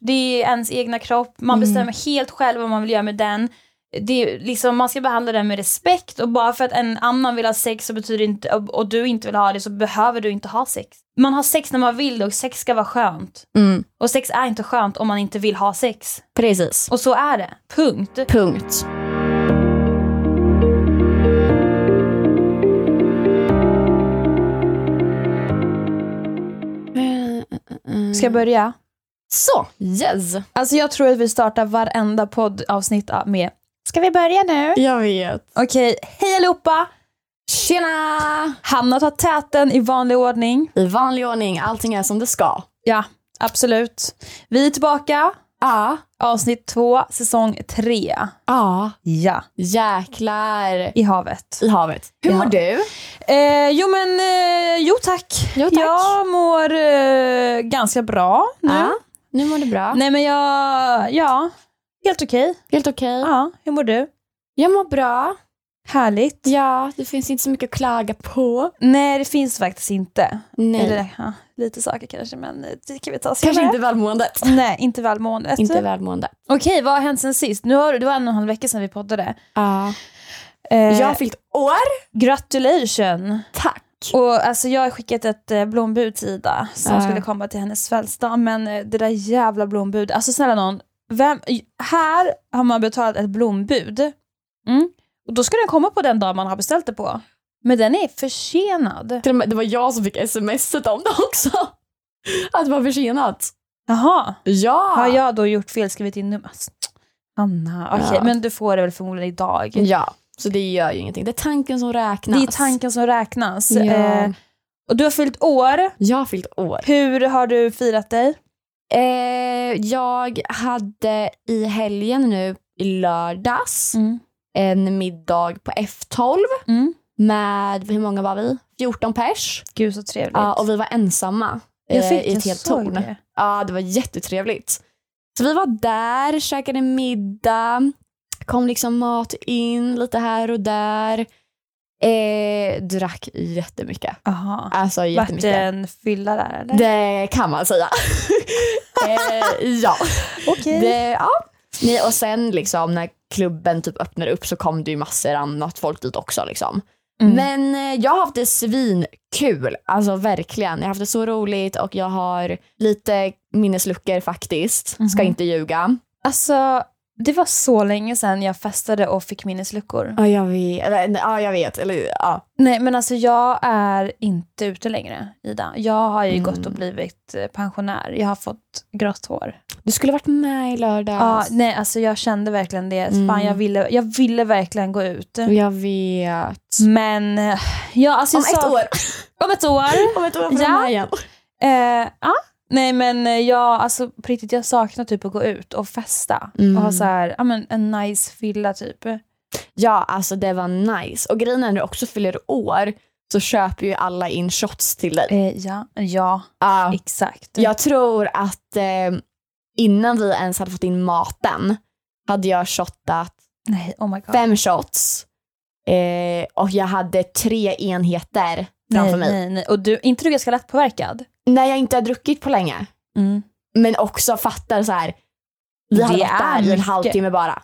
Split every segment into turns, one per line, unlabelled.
det är ens egna kropp, man bestämmer helt själv vad man vill göra med den. Det är liksom, man ska behandla den med respekt och bara för att en annan vill ha sex så betyder inte, och och du inte vill ha det så behöver du inte ha sex. Man har sex när man vill och sex ska vara skönt.
Mm.
Och sex är inte skönt om man inte vill ha sex.
Precis.
Och så är det, punkt.
Punkt.
Ska jag börja?
Så, yes.
Alltså jag tror att vi startar varenda poddavsnitt ah, med Ska vi börja nu?
Jag vet.
Okej, hej allihopa!
Tjena!
Hanna tar täten i vanlig ordning.
I vanlig ordning, allting är som det ska.
Ja, absolut. Vi är tillbaka,
Ja.
avsnitt två, säsong tre.
Ja.
Ja.
Jäklar.
I havet.
I havet. Hur
Ja.
mår du?
Eh, jo men, eh, jo tack.
Jo, tack.
Jag mår eh, ganska bra nu.
Ja. Nu mår du bra.
Nej men jag, ja, helt okej.
Helt okej.
Ja, hur mår du?
Jag mår bra.
Härligt.
Ja, det finns inte så mycket att klaga på.
Nej det finns faktiskt inte.
Nej.
Eller ja, lite saker kanske, men eh, det kan vi ta senare.
Kanske inte välmåendet.
Nej, inte välmåendet.
Inte välmåendet.
Okej, vad har hänt sen sist? Nu har, det var en och en halv vecka sedan vi poddade.
Ja.
Eh,
Jag har fyllt år.
Gratulation!
Tack.
Och alltså, jag har skickat ett eh, blombud till Ida som
Ja.
skulle komma till hennes födelsedag, men eh, det där jävla blombudet, alltså snälla någon, vem, här har man betalat ett blombud mm. och då ska den komma på den dag man har beställt det på. Men den är försenad.
Till och med, det var jag som fick sms om det också. Att det var försenat.
Jaha,
Ja.
har jag då gjort fel, skrivit in nummer? Alltså, Anna, okej,
Ja.
men du får det väl förmodligen idag.
ja. Så det gör ju ingenting. Det är tanken som
Det
räknas.
är tanken som räknas.
Ja.
Eh, och du har fyllt år.
Jag har fyllt år.
Hur har du firat dig?
Eh, jag hade i helgen nu, i lördags,
Mm.
en middag på F12
Mm.
med, hur många var vi? 14 pers.
Gud så trevligt.
Ja, och vi var ensamma eh, i ett helt
såg
torn.
det.
Ja, det var jättetrevligt. Så vi var där, käkade middag, kom liksom mat in lite här och där. Eh, drack jättemycket.
Jaha.
Alltså
Vart eh,
jättemycket.
en fylla där eller?
Det kan man säga. eh, ja.
Okej.
Det, ja. Nej, och sen liksom när klubben typ öppnade upp så kom det ju massor annat folk dit också. Liksom.
Mm.
Men eh, jag har haft det svinkul, alltså verkligen. Jag har haft det så roligt och jag har lite minnesluckor faktiskt, ska
Mhm.
inte ljuga.
Alltså, det var så länge sedan jag festade och fick minnesluckor.
Ja, jag vet. Eller, ja, jag vet. Eller, ja.
Nej men alltså jag är inte ute längre Ida. Jag har ju
Mm.
gått och blivit eh, pensionär. Jag har fått grått hår.
Du skulle varit med i lördags.
Ja, nej alltså jag kände verkligen det.
Mm.
Fan jag ville, jag ville verkligen gå ut.
jag vet.
Men eh, ja, alltså
Om
jag
ett
sa,
år.
Om ett år.
Om ett år får
Ja.
jag med igen.
Eh, ja. Nej men eh, jag, alltså på riktigt, jag saknar typ att gå ut och festa.
Mm. Eh,
Och ha så här, ja men en nice fylla typ.
Ja, alltså det var nice. Och grejen är när du också fyller år så köper ju alla in shots till dig.
Eh, ja, ja,
Ja.
exakt.
jag tror att eh, innan vi ens hade fått in maten hade jag shottat
Nej, oh my god.
fem shots eh, och jag hade tre enheter framför
nej,
mig.
nej, nej. Och du, inte du ganska lättpåverkad?
När jag inte har druckit på länge.
Mm.
Men också fattar så här, vi har
Det
varit där
är
i en
mycket.
halvtimme bara.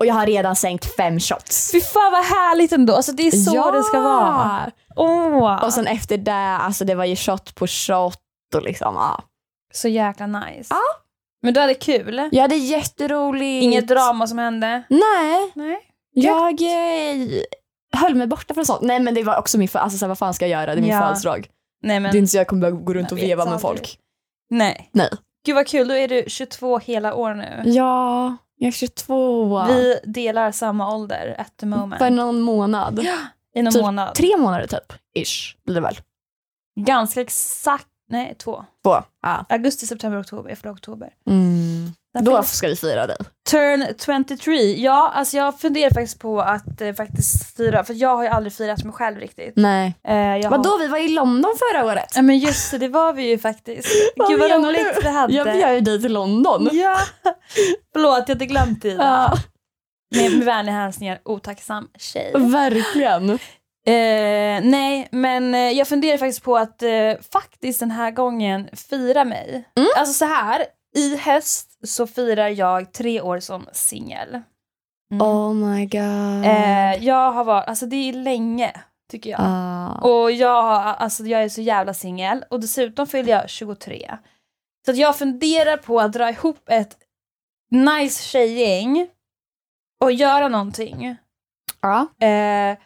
Och jag har redan sänkt fem shots.
Fy fan vad härligt ändå, alltså det är så det ska vara. Åh,
Och sen efter det, alltså det var ju shot på shot och liksom ja.
så jäkla nice.
Ja.
Men du hade kul?
Jag hade jätteroligt.
Inget drama som hände?
Nej,
Nej.
jag eh, höll mig borta från sånt. Nej men det var också min födelsedag, alltså, så här, vad fan ska jag göra? Det är min
Ja.
födelsedag.
Nej men,
Det är inte så jag kommer börja gå runt
Man
och
vet
veva med
aldrig.
folk.
nej.
Nej.
Gud vad kul, då är du 22 hela år nu.
Ja, jag är 22.
Vi delar samma ålder at the moment.
För någon månad.
Inom
Typ
månad.
Tre månader typ, ish blir det väl.
Ganska exakt, nej två.
Två. Ja.
Augusti, september, oktober. Jag förlorar oktober.
Mm.
Där
Då
finns-
ska vi fira dig.
Turn 23. Ja, alltså jag funderar faktiskt på att eh, faktiskt fira, för jag har ju aldrig firat mig själv riktigt.
Nej.
Eh, jag har-
Vadå, vi var i London förra året.
Ja men just det, det var vi ju faktiskt.
Vad
Gud vad
menar du?
roligt vi hade.
Jag bjöd dig till London.
Ja. Förlåt, jag hade glömt Ida.
Ja,
Med, med vänliga hälsningar, otacksam tjej. Mm.
verkligen.
Eh, nej, men eh, jag funderar faktiskt på att eh, faktiskt den här gången fira mig. Alltså så här, I höst så firar jag tre år som singel. Mm.
Oh my god.
Eh, jag har varit, alltså det är länge tycker jag.
ah.
Och jag, har- alltså jag är så jävla singel och dessutom fyller jag 23. Så att jag funderar på att dra ihop ett nice tjejgäng och göra någonting.
Ja.
Eh,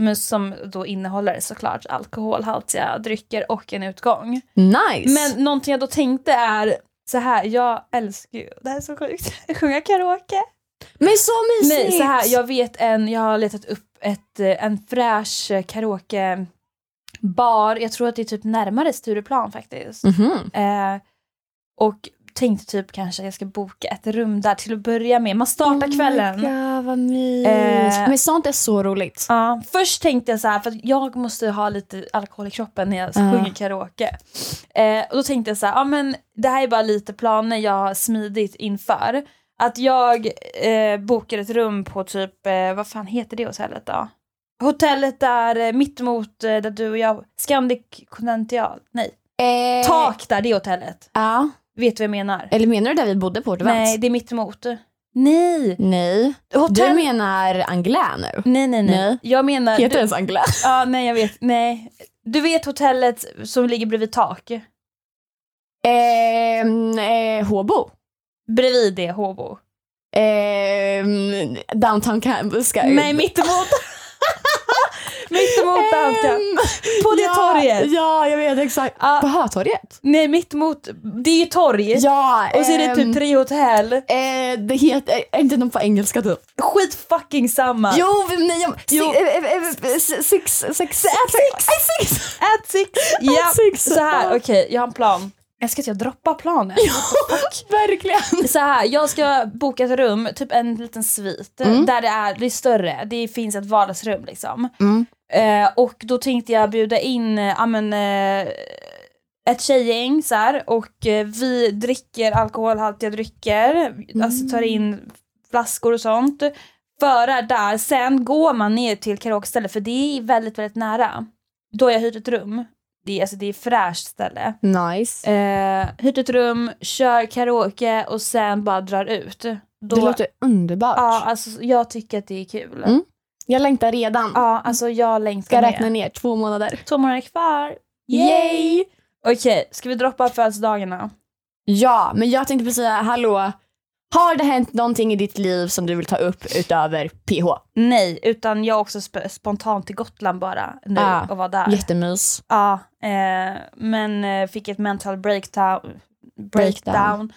men som då innehåller såklart alkoholhaltiga drycker och en utgång.
Nice.
Men någonting jag då tänkte är så här, jag älskar ju, det här är så sjukt, sjunga karaoke.
Men så mysigt.
Nej, så här, jag vet en, jag har letat upp ett, eh, en fräsch eh, karaokebar, jag tror att det är typ närmare Stureplan faktiskt.
Mhm.
Eh, och tänkte typ kanske att jag ska boka ett rum där till att börja med, man startar
Oh my
kvällen.
God, vad mysigt.
Eh.
Men sånt är så roligt.
Ja, först tänkte jag så här, för att jag måste ha lite alkohol i kroppen när jag
Ja.
sjunger karaoke. Eh, och då tänkte jag så här, ja men det här är bara lite planer jag har smidigt inför. Att jag eh, bokar ett rum på typ, eh, vad fan heter det hotellet då? Hotellet där eh, mittemot eh, där du och jag, Scandic Continental, nej,
Eh.
tak där, det hotellet.
Ja.
Vet du vad jag menar?
Eller menar du där vi bodde på? Det var
Nej,
inte-
det är mittemot. Nej!
Nej. Du
Hotell...
menar Anglais nu?
Nej, nej, nej,
Nej.
Jag menar...
Heter det ens Anglais?
Ja, nej jag vet. Nej. Du vet hotellet som ligger bredvid tak?
Ehm, eh, Håbo?
Bredvid det, Håbo.
Ehm, downtown Campus Sky?
Nej, mittemot. mittemot Anka.
Ehm,
På det
ja,
torget.
Ja, jag vet exakt.
Ja.
På Hötorget?
Nej, mittemot. Det är ju torg.
Ja.
Och så är det
ehm,
typ tre hotell.
eh, det heter, är inte någon på engelska typ?
Skit fucking samma.
Jo, nej, jag,
Jo.
si- eh, eh, eh, eh, Six, six, eh, six, six, six, six.
At six. Ja,
six.
så här. Okej, jag har en plan. Jag ska att jag droppar planen.
Verkligen.
Så här, jag ska boka ett rum, typ en liten svit,
Mm.
där det är, det är större, det finns ett vardagsrum liksom. Eh, och då tänkte jag bjuda in eh, ja, men, eh, ett tjejgäng så här, och eh, vi dricker alkoholhaltiga drycker, alltså
Mm.
tar in flaskor och sånt. Förar där, sen går man ner till karaokestället för det är väldigt, väldigt nära. Då har jag hyrt ett rum, det är, alltså, det är ett fräscht ställe.
Nice.
Eh, hyrt ett rum, kör karaoke och sen bara drar ut. Då,
Det låter underbart.
ja, alltså, jag tycker att det är kul.
Mm. Jag längtar redan.
Ja, alltså jag längtar
Ska
med.
räkna ner två månader.
Två månader kvar.
Yay!
Okej, ska vi droppa födelsedagarna?
Ja, men jag tänkte precis säga, hallå, har det hänt någonting i ditt liv som du vill ta upp utöver PH?
Nej, utan jag också sp- spontant till Gotland bara nu
Ah,
och var där.
Jättemys.
Ja, eh, men eh, fick ett mental breakdown. breakdown.
Breakdown.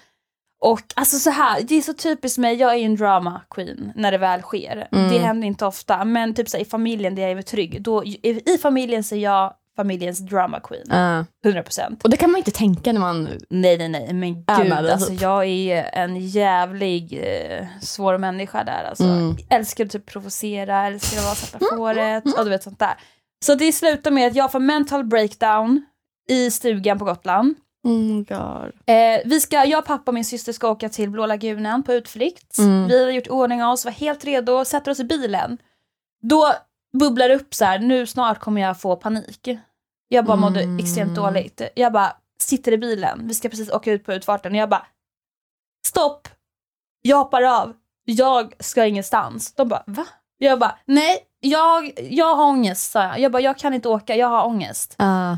Och alltså så här, det är så typiskt mig, jag är ju en drama queen när det väl sker.
Mm.
Det händer inte ofta, men typ så här, i familjen där jag är trygg, då, i, i familjen så är jag familjens drama queen.
Ja.
100%.
Och det kan man inte tänka när man...
Nej, nej, nej, men gud,
Ja, men det-
alltså jag är en jävlig eh, svår människa där alltså.
Mm.
Älskar att typ provocera, älskar att vara svarta fåret och du vet sånt där. Så det slutar med att jag får mental breakdown i stugan på Gotland.
Oh god.
Eh, vi ska, jag, pappa och min syster ska åka till Blå lagunen på utflykt.
Mm.
Vi har gjort ordning av oss, var helt redo, sätter oss i bilen. Då bubblar det upp så här, nu snart kommer jag få panik. Jag bara
Mm.
mådde extremt dåligt. Jag bara sitter i bilen, vi ska precis åka ut på utfarten och jag bara stopp, jag hoppar av, jag ska ingenstans. De bara va? Jag bara nej, jag, jag har ångest sa jag. Jag bara jag kan inte åka, jag har ångest.
Uh.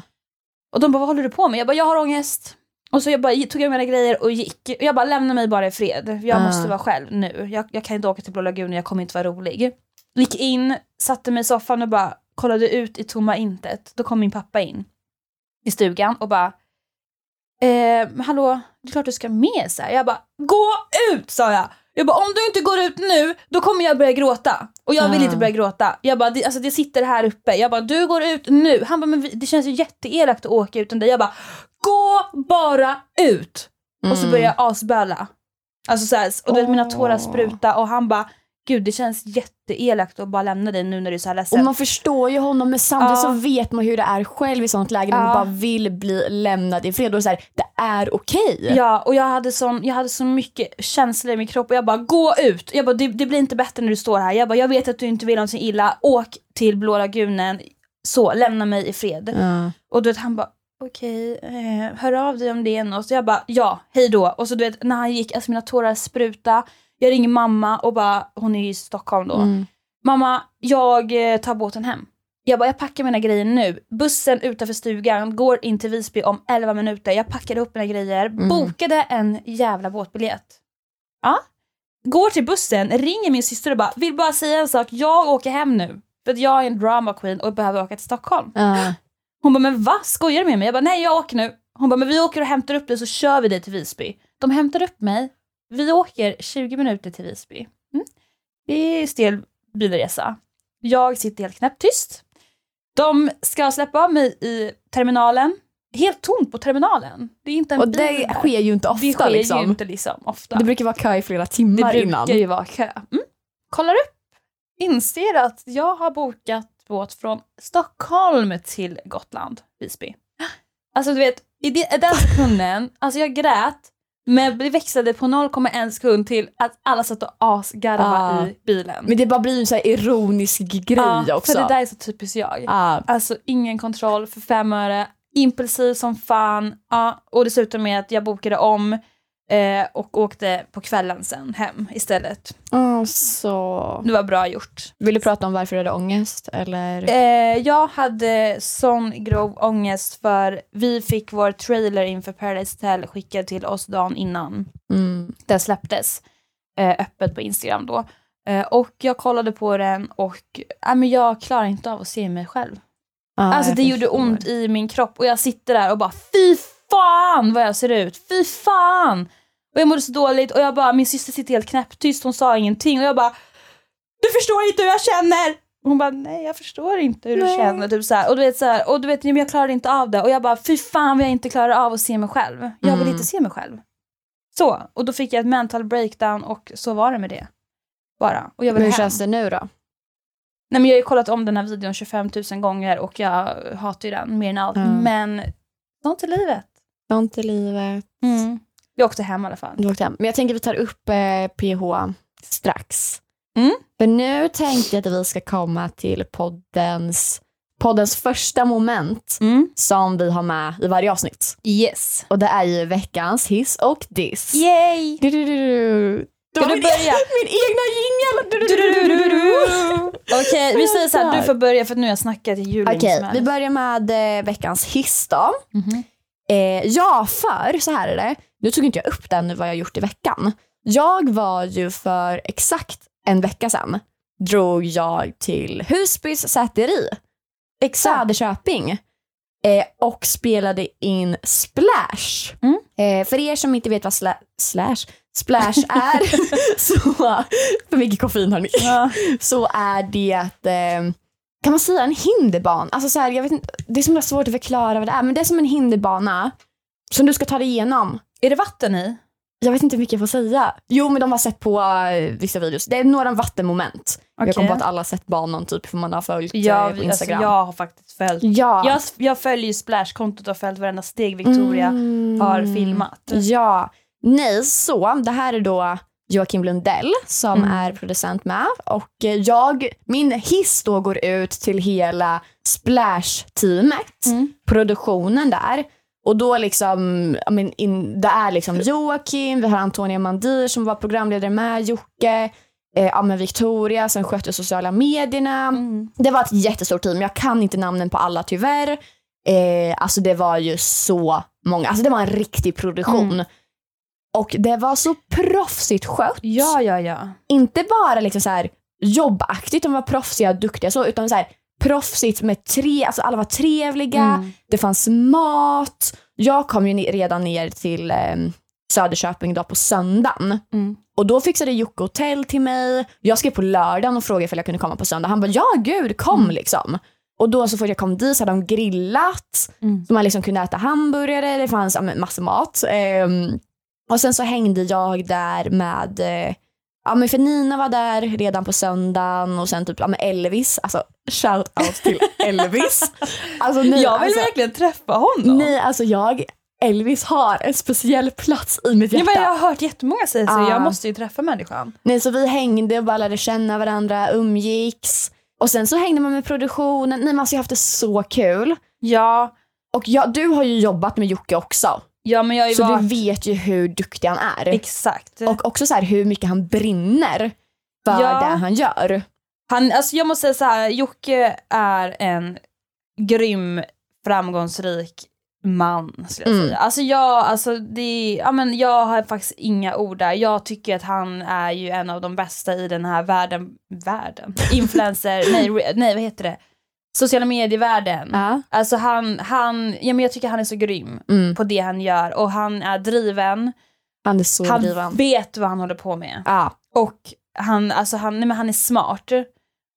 Och de bara, vad håller du på med? Jag bara, jag har ångest. Och så jag bara, tog jag mina grejer och gick. Jag bara, lämna mig bara i fred. Jag
Ah.
måste vara själv nu. Jag, jag kan inte åka till Blå lagunen, jag kommer inte vara rolig. Gick in, satte mig i soffan och bara kollade ut i tomma intet. Då kom min pappa in i stugan och bara, eh, hallå, det är klart du ska med. Så här. Jag bara, gå ut sa jag. Jag bara, om du inte går ut nu, då kommer jag börja gråta. Och jag vill
Ah.
inte börja gråta. Jag bara, det, alltså det sitter här uppe. Jag bara, du går ut nu. Han bara, men vi- det känns ju jätteelakt att åka utan dig. Jag bara, gå bara ut. Och så börjar jag asböla. Alltså så här, och du vet mina tårar
Mm. Åh.
spruta och han bara, gud det känns jätteelakt att bara lämna dig nu när du är så här ledsen.
Mm. Och man förstår ju honom men
Ja.
samtidigt så vet man hur det är själv i sånt läge när man
Ja.
bara vill bli lämnad i fred. Då är det så här, det är okej.
Ja, och jag hade, sån, jag hade så mycket känslor i min kropp och jag bara gå ut. Jag bara det, det blir inte bättre när du står här. Jag bara jag vet att du inte vill någonting illa. Åk till Blå lagunen. Så, lämna mig i fred.
Ja.
Och du vet han bara okej, eh, hör av dig om det är något. Så jag bara, ja, hej då. Och så du vet, när han gick, alltså mina tårar spruta. Jag ringer mamma och bara, hon är ju i Stockholm då.
Mm.
Mamma, jag eh, tar båten hem. Jag bara, jag packar mina grejer nu. Bussen utanför stugan går in till Visby om 11 minuter. Jag packade upp mina grejer,
Mm.
bokade en jävla båtbiljett. Ja. Går till bussen, ringer min syster och bara, vill bara säga en sak, jag åker hem nu. För att jag är en drama queen och behöver åka till Stockholm.
Ja.
Hon bara, men va? Skojar du med mig? Jag bara, nej jag åker nu. Hon bara, men vi åker och hämtar upp dig så kör vi dig till Visby. De hämtar upp mig, vi åker 20 minuter till Visby. Mm. Det är stel bilresa. Jag sitter helt knäpptyst. De ska släppa av mig i terminalen. Helt tomt på terminalen. Det är inte en
Och
bil
det
där.
sker ju inte ofta
det sker ju
liksom.
inte liksom ofta.
Det brukar vara kö i flera timmar
Det
innan.
brukar ju vara kö. Mm. Kollar upp, inser att jag har bokat båt från Stockholm till Gotland, Visby. Alltså du vet, i de- i den sekunden, alltså jag grät, men det växlade på 0,1 sekund till att alla satt och asgarvade
Ah.
i bilen.
Men det bara blir en så här ironisk grej
Ja,
också. Ah.
För det där är så typiskt jag.
Ja.
Alltså ingen kontroll för fem öre, impulsiv som fan. Ja, och dessutom med att jag bokade om eh, och åkte på kvällen sen hem istället.
Mm, så.
Det var bra gjort.
Vill du prata om varför du hade ångest? Eller?
Eh, jag hade sån grov ångest för vi fick vår trailer inför Paradise Hotel skickad till oss dagen innan
Mm.
den släpptes eh, öppet på Instagram då. Eh, och jag kollade på den och äh, men jag klarar inte av att se mig själv.
Ja,
alltså
jag
det gjorde
förstår.
ont i min kropp och jag sitter där och bara fy fan vad jag ser ut, fy fan! Och jag mådde så dåligt och jag bara, min syster sitter helt knäpptyst, hon sa ingenting och jag bara du förstår inte hur jag känner! Och Hon bara, nej jag förstår inte hur du
Nej.
känner. Typ så här. Och du vet, så här, och du vet men jag klarar inte av det. Och jag bara, fy fan vad jag inte klarar av att se mig själv. Jag vill
Mm.
inte se mig själv. Så, och då fick jag ett mental breakdown och så var det med det. Bara. Och jag
Men
vill
hur
hem.
känns det nu då?
Nej, men jag har ju kollat om den här videon 25 000 gånger och jag hatar ju den mer än allt.
Ja.
Men sånt är livet.
Sånt i livet.
Mm. Jag åkte hem i alla fall.
Du åkte hem. Men jag tänker vi tar upp eh, PH strax.
Mm.
För nu tänkte jag att vi ska komma till poddens, poddens första moment
Mm.
som vi har med i varje avsnitt.
Yes.
Och det är ju veckans hiss och diss.
Yay!
Du, du, du, du.
Ska du
Min-
börja?
Min egna jingel! Du, du, du, du, du, du.
Okej, vi säger så här, du får börja för att nu har jag snackat i jul. hur
Okej,
som
vi
helst.
börjar med eh, veckans hiss då.
Mhm.
Eh, ja, för så här är det. Nu tog inte jag upp den vad jag gjort i veckan. Jag var ju för exakt en vecka sedan drog jag till Husbys säteri, Söderköping eh, och spelade in Splash.
Mm.
Eh, för er som inte vet vad sla- slash, Splash är, så, för mycket koffein hörni,
Ja.
så är det att eh, kan man säga en hinderbana? Alltså så här, jag vet inte, det är så himla svårt att förklara vad det är, men det är som en hinderbana som du ska ta dig igenom.
Är det vatten i?
Jag vet inte hur mycket jag får säga. Jo, men de har sett på eh, vissa videos. Det är några vattenmoment. Jag kom på att alla har sett banan typ, för man har följt
Ja,
eh, på
vi, alltså,
Instagram.
jag har faktiskt följt.
ja.
Jag, jag följer ju Splash-kontot och har följt varenda steg Victoria
Mm.
har filmat.
Ja, nej, så det här är då Joakim Lundell som
Mm.
är producent med och eh, jag, min hiss då går ut till hela Splash-teamet,
Mm.
produktionen där. Och då liksom, ja, men in, det är liksom Joakim, vi har Antonia Mandir som var programledare med, Jocke, eh, ja, men Victoria som skötte sociala medierna.
Mm.
Det var ett jättestort team. Jag kan inte namnen på alla tyvärr. Eh, alltså det var ju så många. Alltså det var en riktig produktion. Och det var så proffsigt skött.
Ja, ja, ja.
Inte bara liksom så här jobbaktigt, de var proffsiga och duktiga så, utan så här proffsigt med tre, alltså alla var trevliga,
Mm.
det fanns mat. Jag kom ju ne- redan ner till eh, Söderköping då på söndagen.
Mm.
Och då fixade Jocke hotell till mig. Jag skrev på lördagen och frågade om jag kunde komma på söndag. Han bara, ja gud kom
Mm.
liksom. Och då så fort jag kom dit så hade de grillat.
Mm.
Så man liksom kunde äta hamburgare, det fanns ja, men massa mat. Ehm, och sen så hängde jag där med, eh, ja men för Nina var där redan på söndagen och sen typ ja, men Elvis, alltså shout out till Elvis. Alltså, nej,
Jag vill
alltså,
verkligen träffa honom.
nej, alltså jag, Elvis har en speciell plats i mitt
Ja,
hjärta.
men jag har hört jättemånga säga så,
Ah.
jag måste ju träffa människan.
Nej, så vi hängde och bara lärde känna varandra, umgicks. Och sen så hängde man med produktionen. Nej, men alltså jag har haft det så kul.
Ja,
Och ja, du har ju jobbat med Jocke också.
Ja men jag har ju
Så
varit...
du vet ju hur duktig han är.
Exakt.
Och också så här, hur mycket han brinner för
Ja.
det han gör.
Han, alltså jag måste säga så här, Jocke är en grym, framgångsrik man skulle jag
Mm.
säga. Alltså jag, alltså det, ja men jag har faktiskt inga ord där. Jag tycker att han är ju en av de bästa i den här världen, världen, influencer, nej, re- nej vad heter det, sociala medievärlden.
Ja.
Alltså han, han, ja men jag tycker han är så grym
Mm.
på det han gör och han är driven,
Han är så
han
driven.
vet vad han håller på med.
Ja.
Och han, alltså han, nej men han är smart.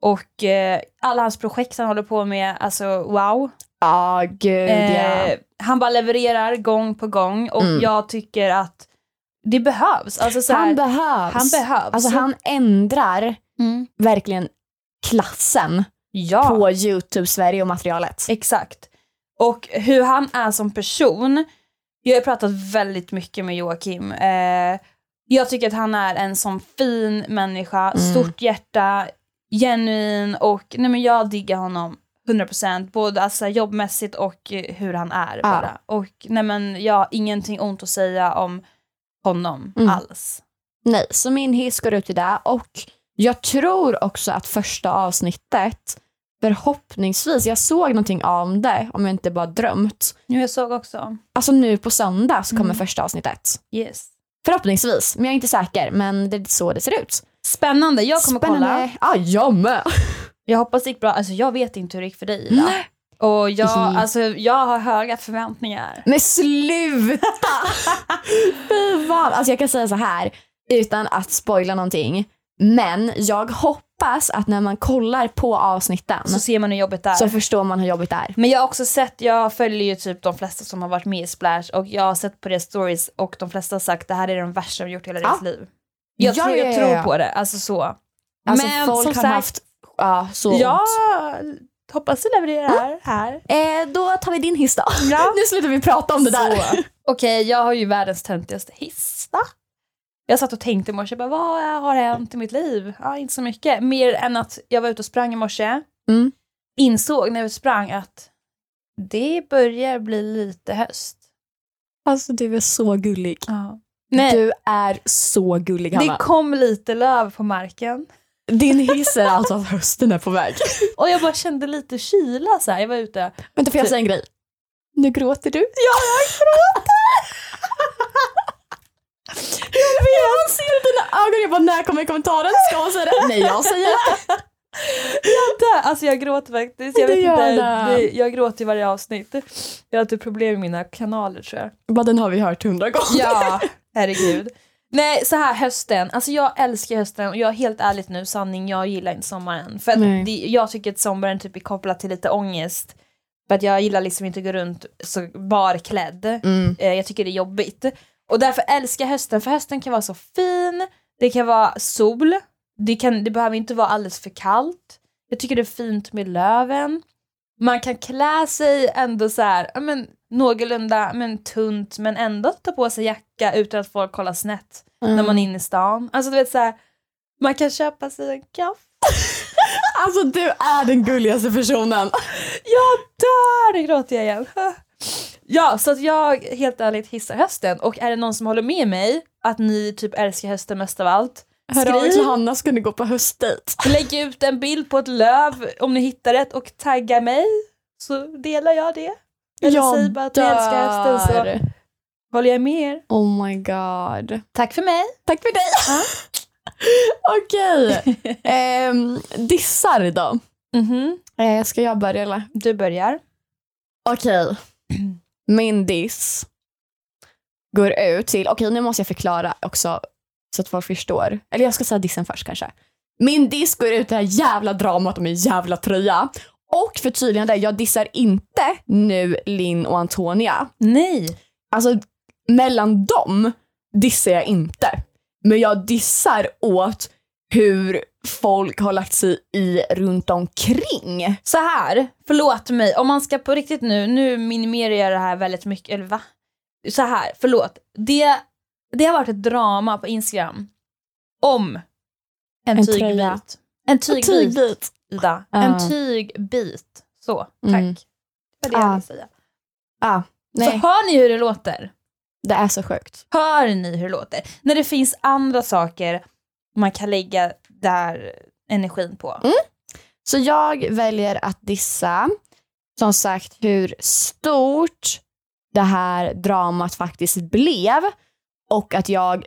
Och eh, alla hans projekt han håller på med, alltså wow.
Ja, gud ja.
Eh, han bara levererar gång på gång och
Mm.
jag tycker att det behövs. Alltså, så här,
Han behövs.
han behövs.
Alltså han ändrar
Mm.
verkligen klassen
ja,
på Youtube-Sverige och materialet.
exakt. Och hur han är som person, jag har pratat väldigt mycket med Joakim. Eh, jag tycker att han är en sån fin människa,
Mm.
stort hjärta, genuin och nej men jag diggar honom 100% både alltså jobbmässigt och eh, hur han är.
Ja.
Bara. Och nej men jag har ingenting ont att säga om honom
Mm.
alls.
Nej, så min hiss går ut till det. Och jag tror också att första avsnittet, förhoppningsvis, jag såg någonting om det, om jag inte bara drömt.
Nu jag såg också,
Alltså nu på söndag så kommer
Mm.
första avsnittet.
yes.
Förhoppningsvis, men jag är inte säker. Men det är så det ser ut.
Spännande, jag kommer kolla.
Ja, jag med.
Jag hoppas det gick bra, alltså jag vet inte hur det gick för dig Ida. Och jag,
Mhm.
alltså, jag har höga förväntningar.
Men sluta! Fy fan. Alltså jag kan säga så här, utan att spoila någonting. Men jag hoppas att när man kollar på avsnitten
Så
så,
ser man hur jobbet är.
förstår man hur jobbigt det är.
Men jag har också sett, jag följer ju typ de flesta som har varit med i Splash och jag har sett på deras stories och de flesta har sagt det här är den värsta de gjort i hela
Ja.
deras liv. Jag,
Ja,
tror, jag
ja, ja,
tror
ja.
på det, alltså så.
Alltså
Men
folk
som
har
sagt,
haft ja, så ont.
jag hoppas du levererar här.
eh, Då tar vi din hiss då.
Ja.
Nu slutar vi prata om det där.
Så. Okej, jag har ju världens töntigaste hissa. Jag satt och tänkte i morse, bara, vad har hänt i mitt liv? Ja, inte så mycket. Mer än att jag var ute och sprang i morse.
Mm.
Insåg när jag sprang att det börjar bli lite höst.
Alltså du är så gullig.
Nej,
Du är så gullig
det
Hanna.
kom lite löv på marken.
Din hiss är alltså att hösten är på väg.
Och jag bara kände lite kyla så här. Jag var ute.
Vänta
Typ.
får jag säga en grej? Nu gråter du. Jag vet. Jag ser i dina ögon, jag bara när kommer kommentaren? Ska hon säga det? Nej jag säger det.
Där, alltså jag gråter faktiskt. Jag,
Det
vet
gör
inte,
det.
det, jag gråter i varje avsnitt. Jag har typ problem med mina kanaler tror jag.
Bara den har vi hört hundra gånger.
Ja, herregud. Nej, så här hösten. Alltså jag älskar hösten och jag är helt ärligt nu, sanning, jag gillar inte sommaren. För att
Nej.
det, jag tycker att sommaren typ är kopplad till lite ångest. För att jag gillar liksom inte att gå runt så barklädd.
Mm.
Eh, Jag tycker det är jobbigt. Och därför älskar jag hösten, för hösten kan vara så fin, det kan vara sol, det, kan, det behöver inte vara alldeles för kallt. Jag tycker det är fint med löven. Man kan klä sig ändå så här, ja, men, någorlunda men tunt men ändå ta på sig jacka utan att folk kollar snett när
Mm.
man är inne i stan. Alltså du vet så här, man kan köpa sig en kaffe.
Alltså du är den gulligaste personen.
Jag dör! Nu gråter jag igen. Ja, så att jag helt ärligt hissar hösten och är det någon som håller med mig att ni typ älskar hösten mest av allt,
Hör av er
skriv,
till Hanna ska ni gå på höstdejt.
lägg ut en bild på ett löv om ni hittar ett och tagga mig så delar jag det. Eller säg bara att ni älskar hösten så
dör.
håller jag med er.
Oh my god.
Tack för mig.
Tack för dig.
Ja.
Okej. Ehm, dissar då.
Mhm,
Eh, ska jag börja eller?
Du börjar.
Okej. Min diss går ut till, okej nu måste jag förklara också så att folk förstår. Eller jag ska säga dissen först kanske. Min diss går ut till det här jävla dramat om en jävla tröja. Och förtydligande, jag dissar inte nu Linn och Antonia.
Nej.
Alltså mellan dem dissar jag inte. Men jag dissar åt hur folk har lagt sig i runt omkring.
Så här, förlåt mig, om man ska på riktigt nu, nu minimerar jag det här väldigt mycket, eller va? Så här, förlåt. Det, det har varit ett drama på Instagram om en,
En tröja.
tygbit. En tygbit,
Tygbit.
Ida.
Ja.
En tygbit. Så, tack.
Mm.
Det var det jag
Ja.
ville säga.
Ah, nej,
Så hör ni hur det låter?
det är så sjukt.
Hör ni hur det låter? När det finns andra saker man kan lägga där energin på.
Mm. Så jag väljer att dissa, som sagt, hur stort det här dramat faktiskt blev och att jag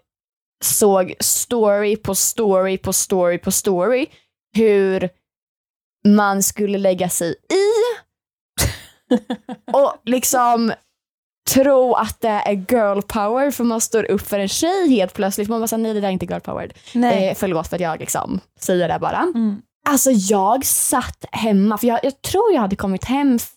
såg story på story på story på story hur man skulle lägga sig i och liksom tro att det är girl power för man står upp för en tjej helt plötsligt. Man bara såhär, nej det där är inte girl powered.
Nej.
Eh, förlåt för att jag liksom säger det bara.
Mm.
Alltså jag satt hemma, för jag, jag tror jag hade kommit hem. f-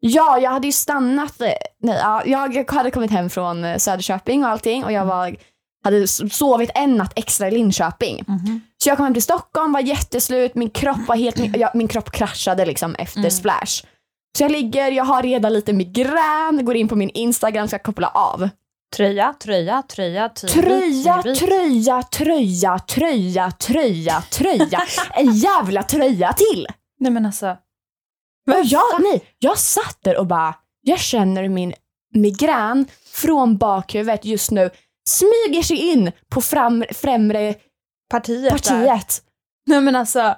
Ja, jag hade ju stannat. eh, Nej, ja, jag jag hade kommit hem från eh, Söderköping och allting och jag var, hade s- sovit en natt extra i Linköping.
Mhm.
Så jag kom hem till Stockholm, var jätteslut, min kropp var helt, min, jag, min kropp kraschade liksom efter
Mm.
splash. Så jag ligger, jag har redan lite migrän, går in på min Instagram, ska koppla av.
Tröja, tröja, tröja, tygbyt,
Tröja,
tygbyt.
tröja, tröja, tröja, tröja, tröja. En jävla tröja till!
Nej men alltså.
Och jag, nej, jag satt där och bara, jag känner min migrän från bakhuvudet just nu smyger sig in på fram, främre
Partiet, där.
partiet.
Nej men alltså.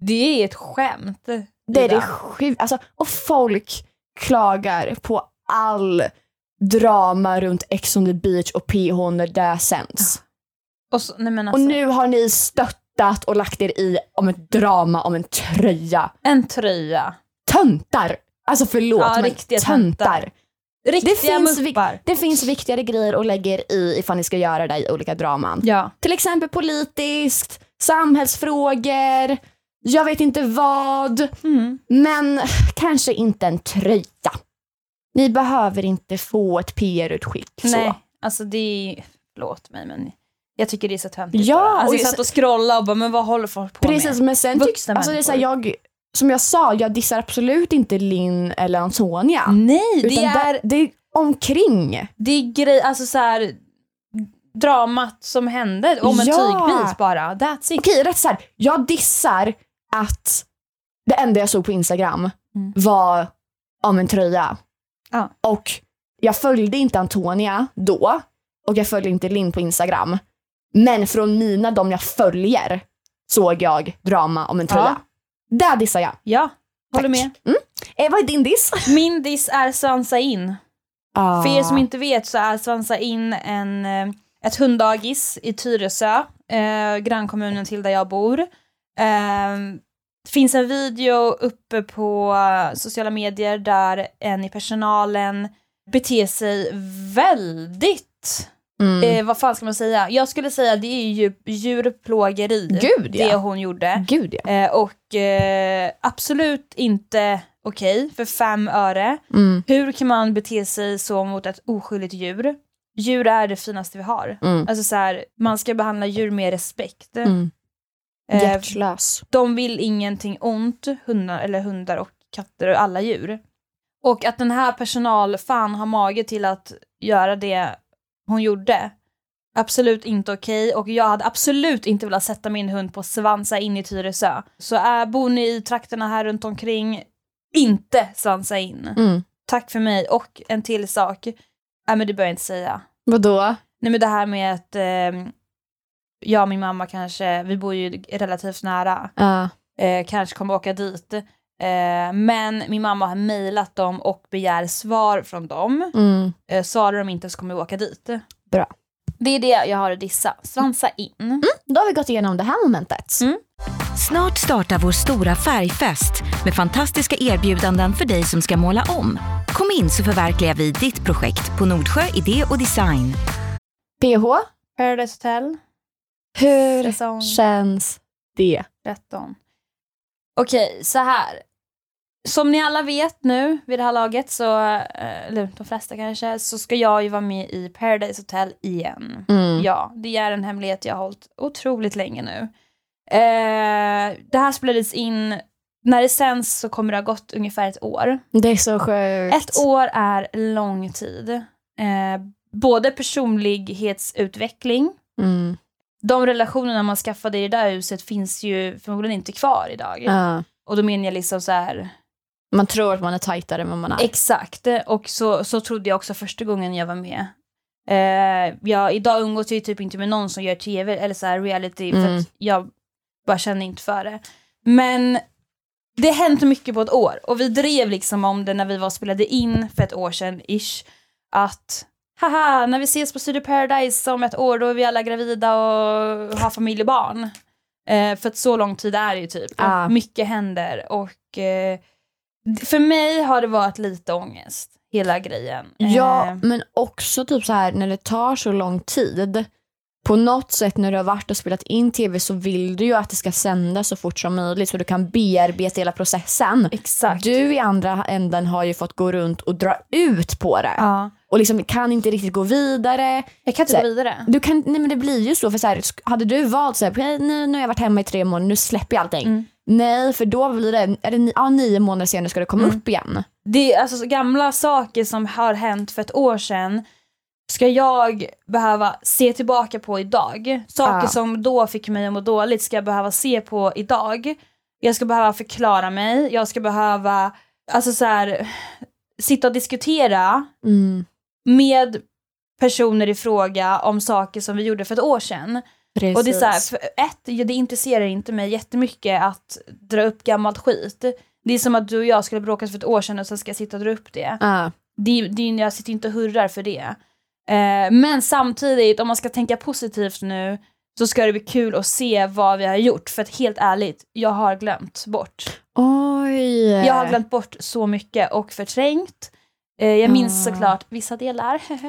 Det är ett skämt.
Det är
Ida.
det sjuka. Alltså, och folk klagar på all drama runt Ex on the beach och PH när det sänds.
Och, så, nej men
Och
alltså,
nu har ni stöttat och lagt er i om ett drama om en tröja.
en tröja.
Töntar! Alltså förlåt,
Ja,
men
riktiga
töntar.
töntar. Riktiga
finns vi-
muppar.
Det finns viktigare grejer att lägga er i ifall ni ska göra det i olika draman.
Ja.
Till exempel politiskt, samhällsfrågor, jag vet inte vad,
Mm.
men kanske inte en tröja. Ni behöver inte få ett PR-utskick
Nej,
så.
alltså det är... Förlåt mig men jag tycker det är så töntigt
Ja,
bara.
och
Alltså,
jag-
jag satt och scrollade och bara, men vad håller folk på
Precis,
med?
men sen tycks,
Vuxna
alltså det är så här,
människor.
jag, som jag sa, jag dissar absolut inte Linn eller Antonia.
Nej, Mm. det
utan
är,
det är omkring.
det är grej, alltså så här dramat som hände om en
Ja.
tygbit bara. That's it.
Okej, rätt så här. Jag dissar att det enda jag såg på Instagram
Mm.
var om en tröja.
Ja.
Och jag följde inte Antonia då och jag följde inte Linn på Instagram. Men från mina, de jag följer, såg jag drama om en tröja. Där dissar jag.
Ja, håller
Tack.
med.
Mm. Eh, vad är din diss?
Min diss är svansa in.
Ah.
För er som inte vet så är Svansa in en, eh, ett hunddagis i Tyresö, eh, grannkommunen till där jag bor. Eh, det finns en video uppe på eh, sociala medier där en i personalen beter sig väldigt,
Mm.
eh, vad fan ska man säga? Jag skulle säga det är ju djurplågeri,
Gud, ja.
det hon gjorde.
Gud ja.
Eh, och eh, absolut inte okej för fem öre.
Mm.
Hur kan man bete sig så mot ett oskyldigt djur? Djur är det finaste vi har.
Mm.
Alltså så här, man ska behandla djur med respekt.
Mm.
Eh,
Hjärtlös.
de vill ingenting ont, hundar, eller hundar och katter och alla djur. Och att den här personalfan har mage till att göra det hon gjorde, absolut inte okej. Och jag hade absolut inte velat sätta min hund på svansa in i Tyresö. Så äh, bor ni i trakterna här runt omkring, inte svansa in.
Mm.
Tack för mig. Och en till sak. Nej men det bör jag inte säga.
Vadå?
Nej men det här med att eh, jag och min mamma kanske, vi bor ju relativt nära,
Ah.
eh, kanske kommer åka dit. Eh, men min mamma har mejlat dem och begär svar från dem.
Mm.
Eh, svarar de inte så kommer vi åka dit.
Bra. Mm.
Det är det jag har att dissa. Svansa in.
Då har vi gått igenom det här momentet.
Mm.
Snart startar vår stora färgfest med fantastiska erbjudanden för dig som ska måla om. Kom in så förverkligar vi ditt projekt på Nordsjö Idé och Design.
PH,
Paradise Hotel,
hur
säsong
känns det?
13. Okej, så här. Som ni alla vet nu vid det här laget, så, eh, eller de flesta kanske, så ska jag ju vara med i Paradise Hotel igen. Ja, det är en hemlighet jag har hållit otroligt länge nu. Eh, det här spelades in, när det sänds så kommer det ha gått ungefär ett år.
Det är så sjukt.
Ett år är lång tid. Eh, både personlighetsutveckling,
Mm.
de relationerna man skaffade i det där huset finns ju förmodligen inte kvar idag.
Ja.
Och då menar jag liksom så här
Man tror att man är tajtare än vad man är.
Exakt, och så, så trodde jag också första gången jag var med. Eh, jag, idag umgås jag ju typ inte med någon som gör tv eller så här reality, för
Mm.
att jag bara känner inte för det. Men det har hänt mycket på ett år, och vi drev liksom om det när vi var och spelade in för ett år sedan, ish, att haha, när vi ses på Studio Paradise om ett år då är vi alla gravida och har familj och barn. Eh, för att så lång tid är det ju typ,
Ah.
och mycket händer. Och eh, för mig har det varit lite ångest, hela grejen.
Ja,
Eh,
men också typ så här när det tar så lång tid. På något sätt när du har varit och spelat in tv så vill du ju att det ska sändas så fort som möjligt så du kan bearbeta hela processen.
exakt.
Du i andra änden har ju fått gå runt och dra ut på det
Ja.
och liksom kan inte riktigt gå vidare.
Jag kan inte
Så-
gå vidare.
Du kan, nej men det blir ju så för så här, sk- hade du valt så här, "Okej, nu, nu har jag varit hemma i tre månader, nu släpper jag allting.
Mm.
Nej, för då blir det, är det ni, ja, nio månader senare ska det komma upp igen.
Det är alltså så gamla saker som har hänt för ett år sedan ska jag behöva se tillbaka på idag. Saker
Ja.
som då fick mig att må dåligt ska jag behöva se på idag. Jag ska behöva förklara mig, jag ska behöva alltså så här, sitta och diskutera
Mm.
med personer i fråga om saker som vi gjorde för ett år sedan. Och det är så här, för ett, ja, det intresserar inte mig jättemycket att dra upp gammalt skit. Det är som att du och jag skulle bråkat för ett år sedan och sen ska jag sitta och dra upp det.
Ja.
det, det jag sitter inte och hurrar för det. Eh, men samtidigt, om man ska tänka positivt nu, så ska det bli kul att se vad vi har gjort. För att helt ärligt, jag har glömt bort.
Oj.
Jag har glömt bort så mycket och förträngt. Eh, jag minns
Ah.
såklart vissa delar. eh,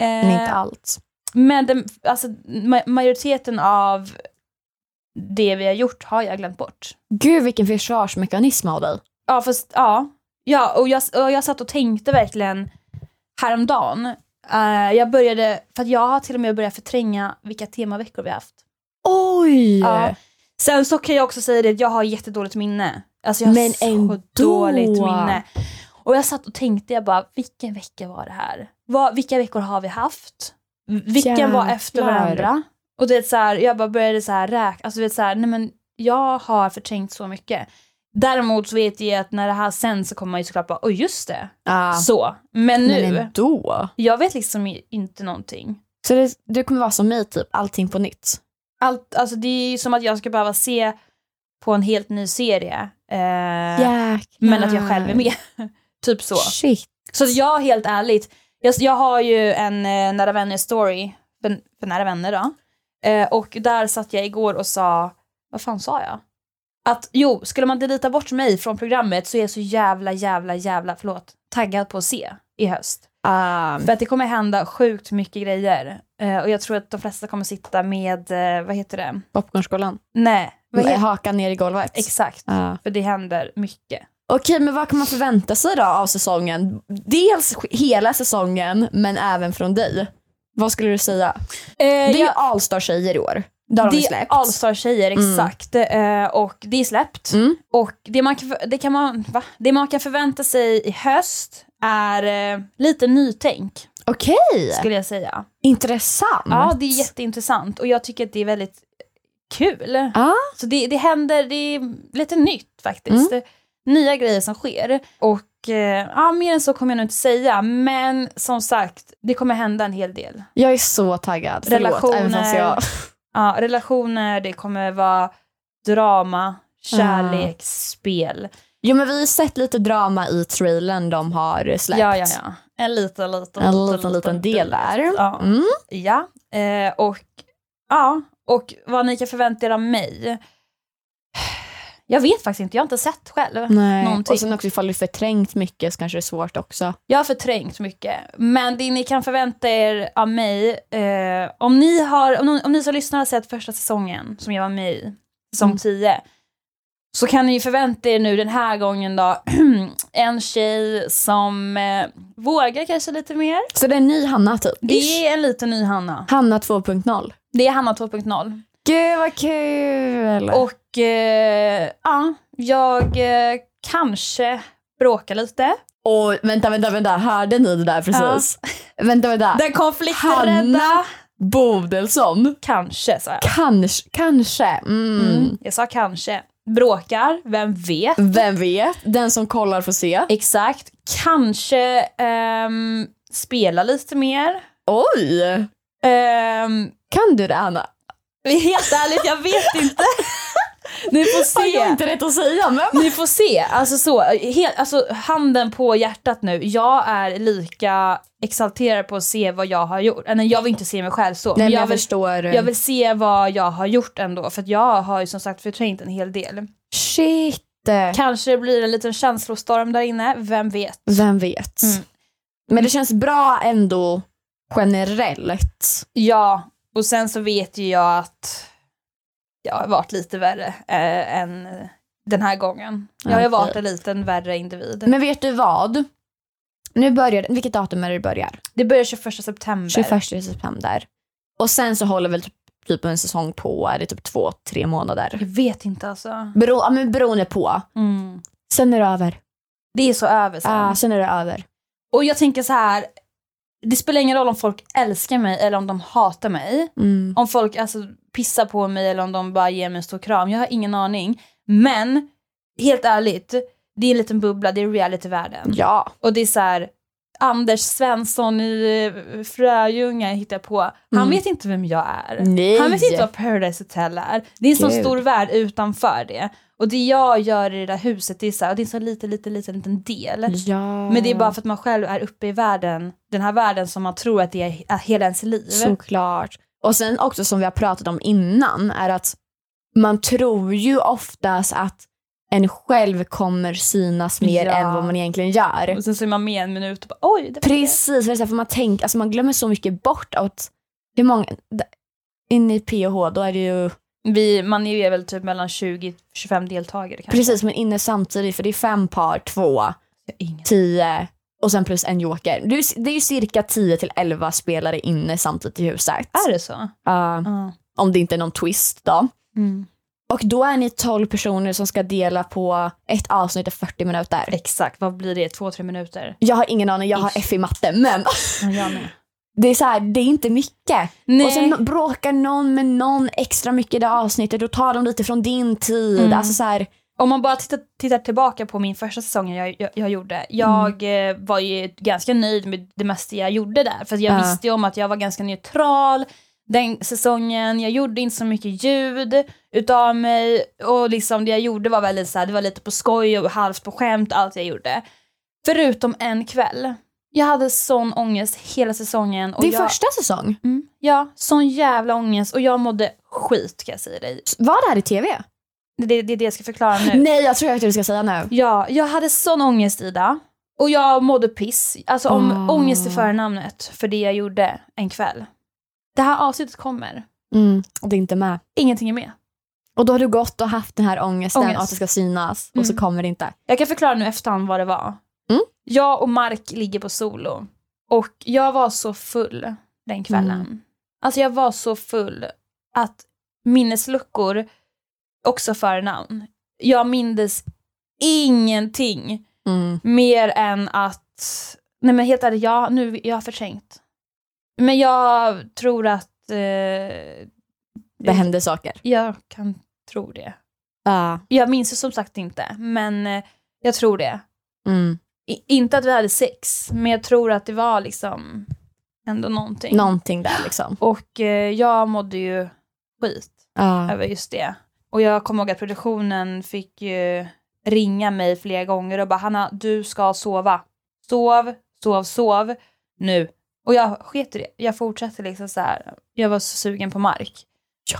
Men inte allt.
men den, alltså, ma- majoriteten av det vi har gjort har jag glömt bort.
Gud vilken försvarsmekanism av dig.
Ja, fast, ja. ja och, jag, och jag satt och tänkte verkligen häromdagen. Uh, jag började, för att jag har till och med börjat förtränga vilka temaveckor vi har haft.
Oj!
Ja. Eh, Sen så kan jag också säga det att jag har jättedåligt minne. Alltså jag har
Men
så
ändå.
dåligt minne. Och jag satt och tänkte, jag bara, vilken vecka var det här? Vad, vilka veckor har vi haft? Vilken var efter
Jävlar.
varandra? Och det är så här, jag bara började så här räkna, alltså du vet så här, nej men jag har förträngt så mycket. Däremot så vet jag att när det här sen så kommer man ju såklart bara, åh just det,
Ja.
så. Men nu,
Men ändå.
jag vet liksom inte någonting.
Så det, du kommer vara som mig typ, allting på nytt.
Allt, alltså det är ju som att jag ska behöva se på en helt ny serie. Eh,
Jäklar.
men att jag själv är med. typ så.
Shit.
Så att jag helt ärligt, jag, jag har ju en eh, nära vänner story, för, för nära vänner då. Eh, och där satt jag igår och sa, vad fan sa jag? Att jo, skulle man delita bort mig från programmet så är jag så jävla, jävla, jävla, förlåt, taggad på att se i höst.
Ah,
För att det kommer hända sjukt mycket grejer. Eh, och jag tror att de flesta kommer sitta med, eh, vad heter det?
Popcornskålen.
Nej, vad
Med
heter
hakan ner i golvet.
Exakt,
Ah.
för det händer mycket.
Okej, men vad kan man förvänta sig då av säsongen? Dels sk- hela säsongen, men även från dig. Vad skulle du säga? Det är ju Allstar-tjejer i år. Det Eh, har de
Eh,
ju
det är
släppt.
Allstar-tjejer,
Mm.
exakt. Eh, och det är släppt.
Mm.
Och det man, kan, för- det, kan man, va? det man kan förvänta sig i höst är eh, lite nytänk,
Okej,
skulle jag säga.
intressant.
Ja, det är jätteintressant och jag tycker att det är väldigt kul.
Ja.
Så det, det händer, det är lite nytt faktiskt.
Mm.
Nya grejer som sker. Och eh, ja, mer än så kommer jag nog inte säga, men som sagt, det kommer hända en hel del.
Jag är så taggad. Förlåt, även fast
Relationer.
jag...
Ja, relationer, det kommer vara drama, kärlek, spel.
Jo men vi har ju sett lite drama i trailern de har släppt.
Ja, ja, ja. En liten, liten,
En liten, liten del där.
Ja.
Mm.
Ja, eh, och, ja, och vad ni kan förvänta er av mig. Jag vet faktiskt inte, jag har inte sett själv.
Nej.
Någonting.
Och sen också ifall du förträngt mycket så kanske det är svårt också.
Jag har förträngt mycket. Men det ni kan förvänta er av mig, eh, om, ni har, om, om ni som lyssnar har sett första säsongen som jag var med i, säsong
Mm.
10, så kan ni ju förvänta er nu den här gången då, en tjej som eh, vågar kanske lite mer.
Så det är en ny Hanna typ? Ish.
Det är en liten ny Hanna.
Hanna 2.0.
Det är Hanna 2.0.
Gud vad kul!
Och eh, ja, jag eh, kanske bråkar lite.
och vänta, vänta, vänta, hörde ni det där precis? Vänta, vänta.
Den
Hanna
konflikträdda.
Bodelsson?
Kanske sa jag.
Kanske, kanske. Mm.
Mm. Jag sa kanske. bråkar, vem vet?
Vem vet? Den som kollar får se.
Exakt. Kanske ehm, spela lite mer.
Oj!
Ehm,
Kan du det Anna?
helt ärligt, jag vet inte. Ni får
Har jag
se.
inte rätt att säga men.
Ni får se. Alltså, så, helt, alltså handen på hjärtat nu. Jag är lika exalterad på att se vad jag har gjort. Äh, Nej, jag vill inte se mig själv så.
Nej, men jag,
jag, vill,
förstår.
jag vill se vad jag har gjort ändå. För att jag har ju som sagt förträngt en hel del.
Shit.
Kanske det blir en liten känslostorm där inne, vem vet?
Vem vet?
Mm.
Men det känns bra ändå generellt.
Ja, och sen så vet ju jag att jag har varit lite värre eh, än den här gången. Jag har ju
Okej.
varit en liten värre individ.
Men vet du vad? Nu börjar Vilket datum är det det börjar?
det börjar 21 september.
21 september. Och sen så håller väl typ, typ en säsong på, är det typ två, tre månader?
Jag vet inte alltså.
Bero, ja, men beroende på.
Mm.
Sen är det över.
Det är så över sen.
Ja, sen är det över.
Och jag tänker så här, det spelar ingen roll om folk älskar mig eller om de hatar mig.
Mm.
Om folk alltså, pissar på mig eller om de bara ger mig en stor kram, jag har ingen aning. Men, helt ärligt, det är en liten bubbla, det är realityvärlden.
Ja.
Och det är så här, Anders Svensson i eh, Fröjunga hittar på, han
Mm.
vet inte vem jag är.
Nej.
Han vet inte vad Paradise Hotel är. Det är en sån
Gud.
stor värld utanför det. Och det jag gör i det där huset, det är så här, och det är en sån liten, liten, liten, liten del.
Ja.
Men det är bara för att man själv är uppe i världen, den här världen som man tror att det är är hela ens liv.
Såklart. Och sen också som vi har pratat om innan är att man tror ju oftast att en själv kommer synas mer
Ja.
än vad man egentligen gör.
Och sen så är man med en minut och bara oj, det var
Precis, för det är så här, för man, tänker, alltså man glömmer så mycket bort att hur många, d- inne i PH då är det ju,
det. Vi, man är ju väl typ mellan 20-25 deltagare kanske.
precis men inne samtidigt för det är fem par, två,
Jag har ingen-
tio och sen plus en joker. Det är, ju- det är ju cirka 10 till 11 spelare inne samtidigt i huset.
Är det så?
Ja,
Ja.
om det inte är någon twist då.
Mm.
Och då är ni 12 personer som ska dela på ett avsnitt av 40 minuter.
Exakt, vad blir det? Två, tre minuter?
Jag har ingen aning, jag har
Ish.
F i matte men
Ja, Mm, jag med.
det är så här, det är inte mycket.
Nej.
Och sen bråkar någon med någon extra mycket i det avsnittet, då tar de lite från din tid.
Mm.
Alltså så här,
Om man bara tittar, tittar tillbaka på min första säsong jag, jag, jag gjorde. Jag eh, var ju ganska nöjd med det mesta jag gjorde där. För att jag
Ja.
visste ju om att jag var ganska neutral den säsongen. Jag gjorde inte så mycket ljud utav mig. Och liksom det jag gjorde var väldigt så här, det var lite på skoj och halvt på skämt, allt jag gjorde. Förutom en kväll. Jag hade sån ångest hela säsongen. Och
din
jag,
första säsong,
Mm, ja, sån jävla ångest. Och jag mådde skit kan jag säga dig.
var det här i tv?
Det, det, det är det jag ska förklara nu.
Nej, jag tror jag vet hur du ska säga nu.
Ja, jag hade sån ångest Ida. Och jag mådde piss. Alltså om
Ah.
ångest är förnamnet för det jag gjorde en kväll. Det här avsnittet kommer.
Mm, och det är inte med.
Ingenting är med.
Och då har du gått och haft den här ångesten
Ångest.
att det ska synas och så
Mm.
kommer det inte.
Jag kan förklara nu efterhand vad det var.
Mm.
Jag och Mark ligger på solo. Och jag var så full den kvällen.
Mm.
Alltså jag var så full att minnesluckor också förnamn. Jag mindes ingenting.
Mm.
Mer än att, nej men helt ärligt, jag, nu, jag har förträngt. Men jag tror att, eh,
Det händer saker.
jag kan tro det.
Ja.
Jag minns ju som sagt inte, men eh, jag tror det.
Mm.
I, inte att vi hade sex, men jag tror att det var liksom ändå någonting.
Någonting där liksom.
Och eh, jag mådde ju skit
Ja.
över just det. Och jag kommer ihåg att produktionen fick ju ringa mig flera gånger och bara Hanna, du ska sova. Sov, sov, sov nu. Och jag sket i det. Jag fortsatte liksom så här. Jag var så sugen på mark.
Ja.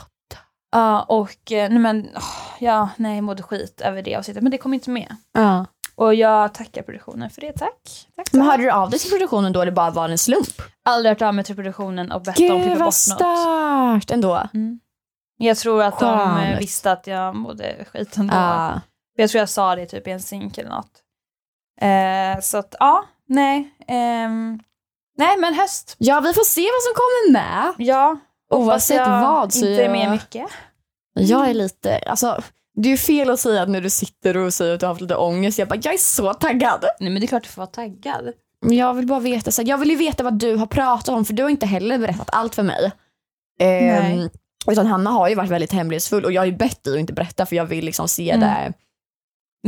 Ja, och eh, nej men, åh, ja, nej, jag mådde skit över det avsnittet. Men det kom inte med.
Ja.
Och jag tackar produktionen för det, tack. tack så
Men
mycket.
hörde du av dig till produktionen då eller bara var det en slump?
Aldrig hört av mig till produktionen och bett dem klippa bort något.
stört ändå.
Mm. Jag tror att de eh,
Skönt.
visste att jag mådde skit ändå.
Ja.
Jag tror jag sa det typ i en synk eller något. Eh, så att, ja, nej. ehm, nej, men höst.
ja, vi får se vad som kommer med.
Ja. hoppas
Oavsett
jag
vad så
inte är
jag-
med mycket.
Jag är lite, alltså det är ju fel att säga att när du sitter och säger att du har haft lite ångest, jag bara jag är så taggad.
Nej, men det är klart du får vara taggad.
Men Jag vill bara veta, så här, jag vill ju veta vad du har pratat om för du har inte heller berättat allt för mig. Ehm,
Nej.
Utan Hanna har ju varit väldigt hemlighetsfull och jag har ju bett dig att inte berätta för jag vill liksom se
Mm.
det.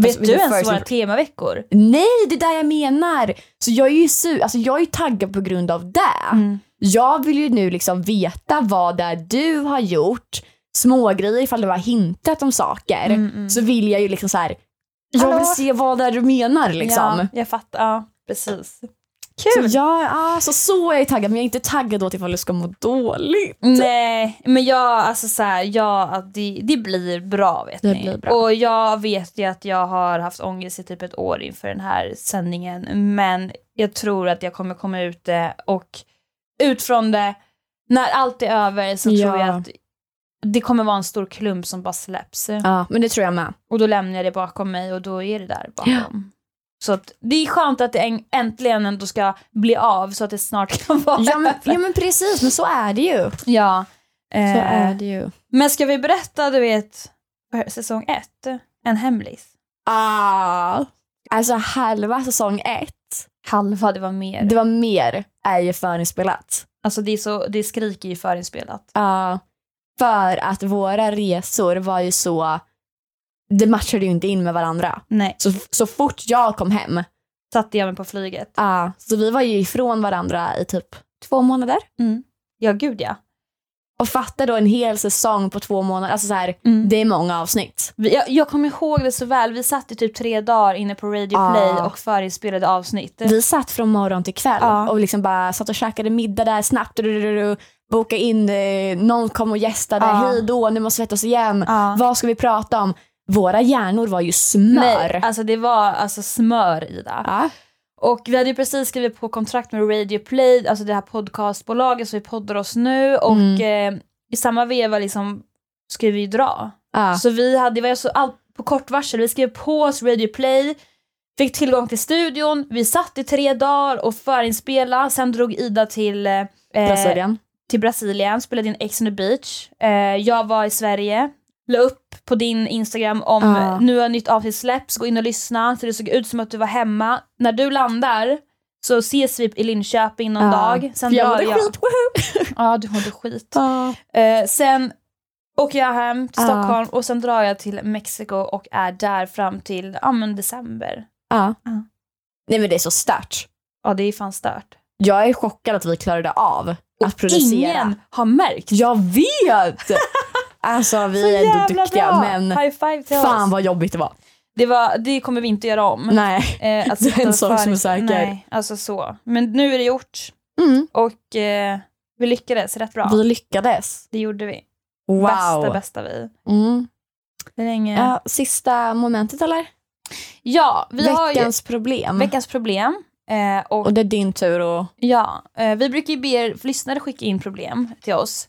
Alltså,
Vet du
det
ens
first
våra
impr-
temaveckor?
Nej, det är där jag menar! Så jag är ju su- alltså jag är ju taggad på grund av det.
Mm.
Jag vill ju nu liksom veta vad det är du har gjort, smågrejer ifall du har hintat om saker.
Mm, mm.
Så vill jag ju liksom så här. jag
Hallå?
vill se vad det är du menar liksom.
Ja, jag fattar. Ja, precis.
Så,
Kul!
jag, alltså, så är jag taggad, men jag är inte taggad åt ifall du ska må dåligt.
Nej, men jag, alltså så här, jag, att det, det blir bra vet
Det
ni.
blir bra.
Och jag vet ju att jag har haft ångest i typ ett år inför den här sändningen, men jag tror att jag kommer komma ut det och ut från det, när allt är över så
Ja.
tror jag att det kommer vara en stor klump som bara släpps.
Ja, men det tror jag med.
Och då lämnar jag det bakom mig och då är det där bakom. Så att det är skönt att det äng- äntligen ändå ska bli av så att det snart kan vara
Ja men,
över.
ja, men precis, men så är det ju.
Ja.
Så
Eh,
är det ju.
Men ska vi berätta, du vet, för säsong ett? En hemlis?
Ah. Alltså halva säsong ett,
Halva, det var mer.
det var mer, är ju förinspelat.
Alltså det, är så, det skriker ju förinspelat.
Ja. För att våra resor var ju så, det matchade ju inte in med varandra.
Nej.
Så, så fort jag kom hem,
Satte jag mig på flyget.
ah, så vi var ju ifrån varandra i typ två månader.
Ja, gud ja.
Och fatta då en hel säsong på två månader, alltså så här,
Mm.
det är många avsnitt.
Vi- Jag, jag kommer ihåg det så väl, vi satt i typ tre dagar inne på Radio
Ah.
Play och förinspelade avsnitt.
Vi satt från morgon till kväll
Ja.
och liksom bara satt och käkade middag där snabbt, drurururu, boka in, eh, någon kom och gästade,
Ja.
hej då, nu måste vi sätta oss igen,
Ja.
vad ska vi prata om? Våra hjärnor var ju smör.
Nej, alltså det var alltså smör i det.
Ja.
Och vi hade ju precis skrivit på kontrakt med Radio Play, alltså det här podcastbolaget som vi poddar oss nu och eh, i samma veva liksom ska vi ju dra.
Ja.
Så vi hade, det var ju så allt på kort varsel, vi skrev på oss Radio Play, fick tillgång till studion, vi satt i tre dagar och förinspelade, sen drog Ida till, eh,
Brasilien.
till Brasilien, spelade in Ex on the beach, eh, jag var i Sverige, la upp på din Instagram om
Ja.
eh, nu har nytt avsnitt släppts, gå in och lyssna, så det såg ut som att du var hemma. När du landar så ses vi i Linköping någon
Ja.
dag, sen
För jag
drar
mådde
jag.
skit, woho!
Ja, du mådde skit. Eh, sen åker jag hem till
Ja.
Stockholm och sen drar jag till Mexiko och är där fram till ja, men december.
Ja.
Ja.
Nej men det är så stört.
Ja, det är fan stört.
Jag är chockad att vi klarade av att producera.
Ingen har märkt.
Jag vet! alltså vi
Så
är ändå
jävla
duktiga
bra.
men
High five till
fan
oss.
vad jobbigt det var.
Det, var, det kommer vi inte göra om.
Nej.
Eh, att
Det är
sitta
en
och
sak som är säker.
Nej, alltså så. Men nu är det gjort
Mm.
och eh, vi lyckades rätt bra.
Vi lyckades.
Det gjorde vi.
Wow.
Bästa, bästa vi.
Mm.
Det är ingen...
Ja, sista momentet eller?
Ja, vi har ju
Veckans problem.
veckans problem. Eh, och
Och det är din tur och...
Ja, eh, vi brukar ju be er lyssnare skicka in problem till oss.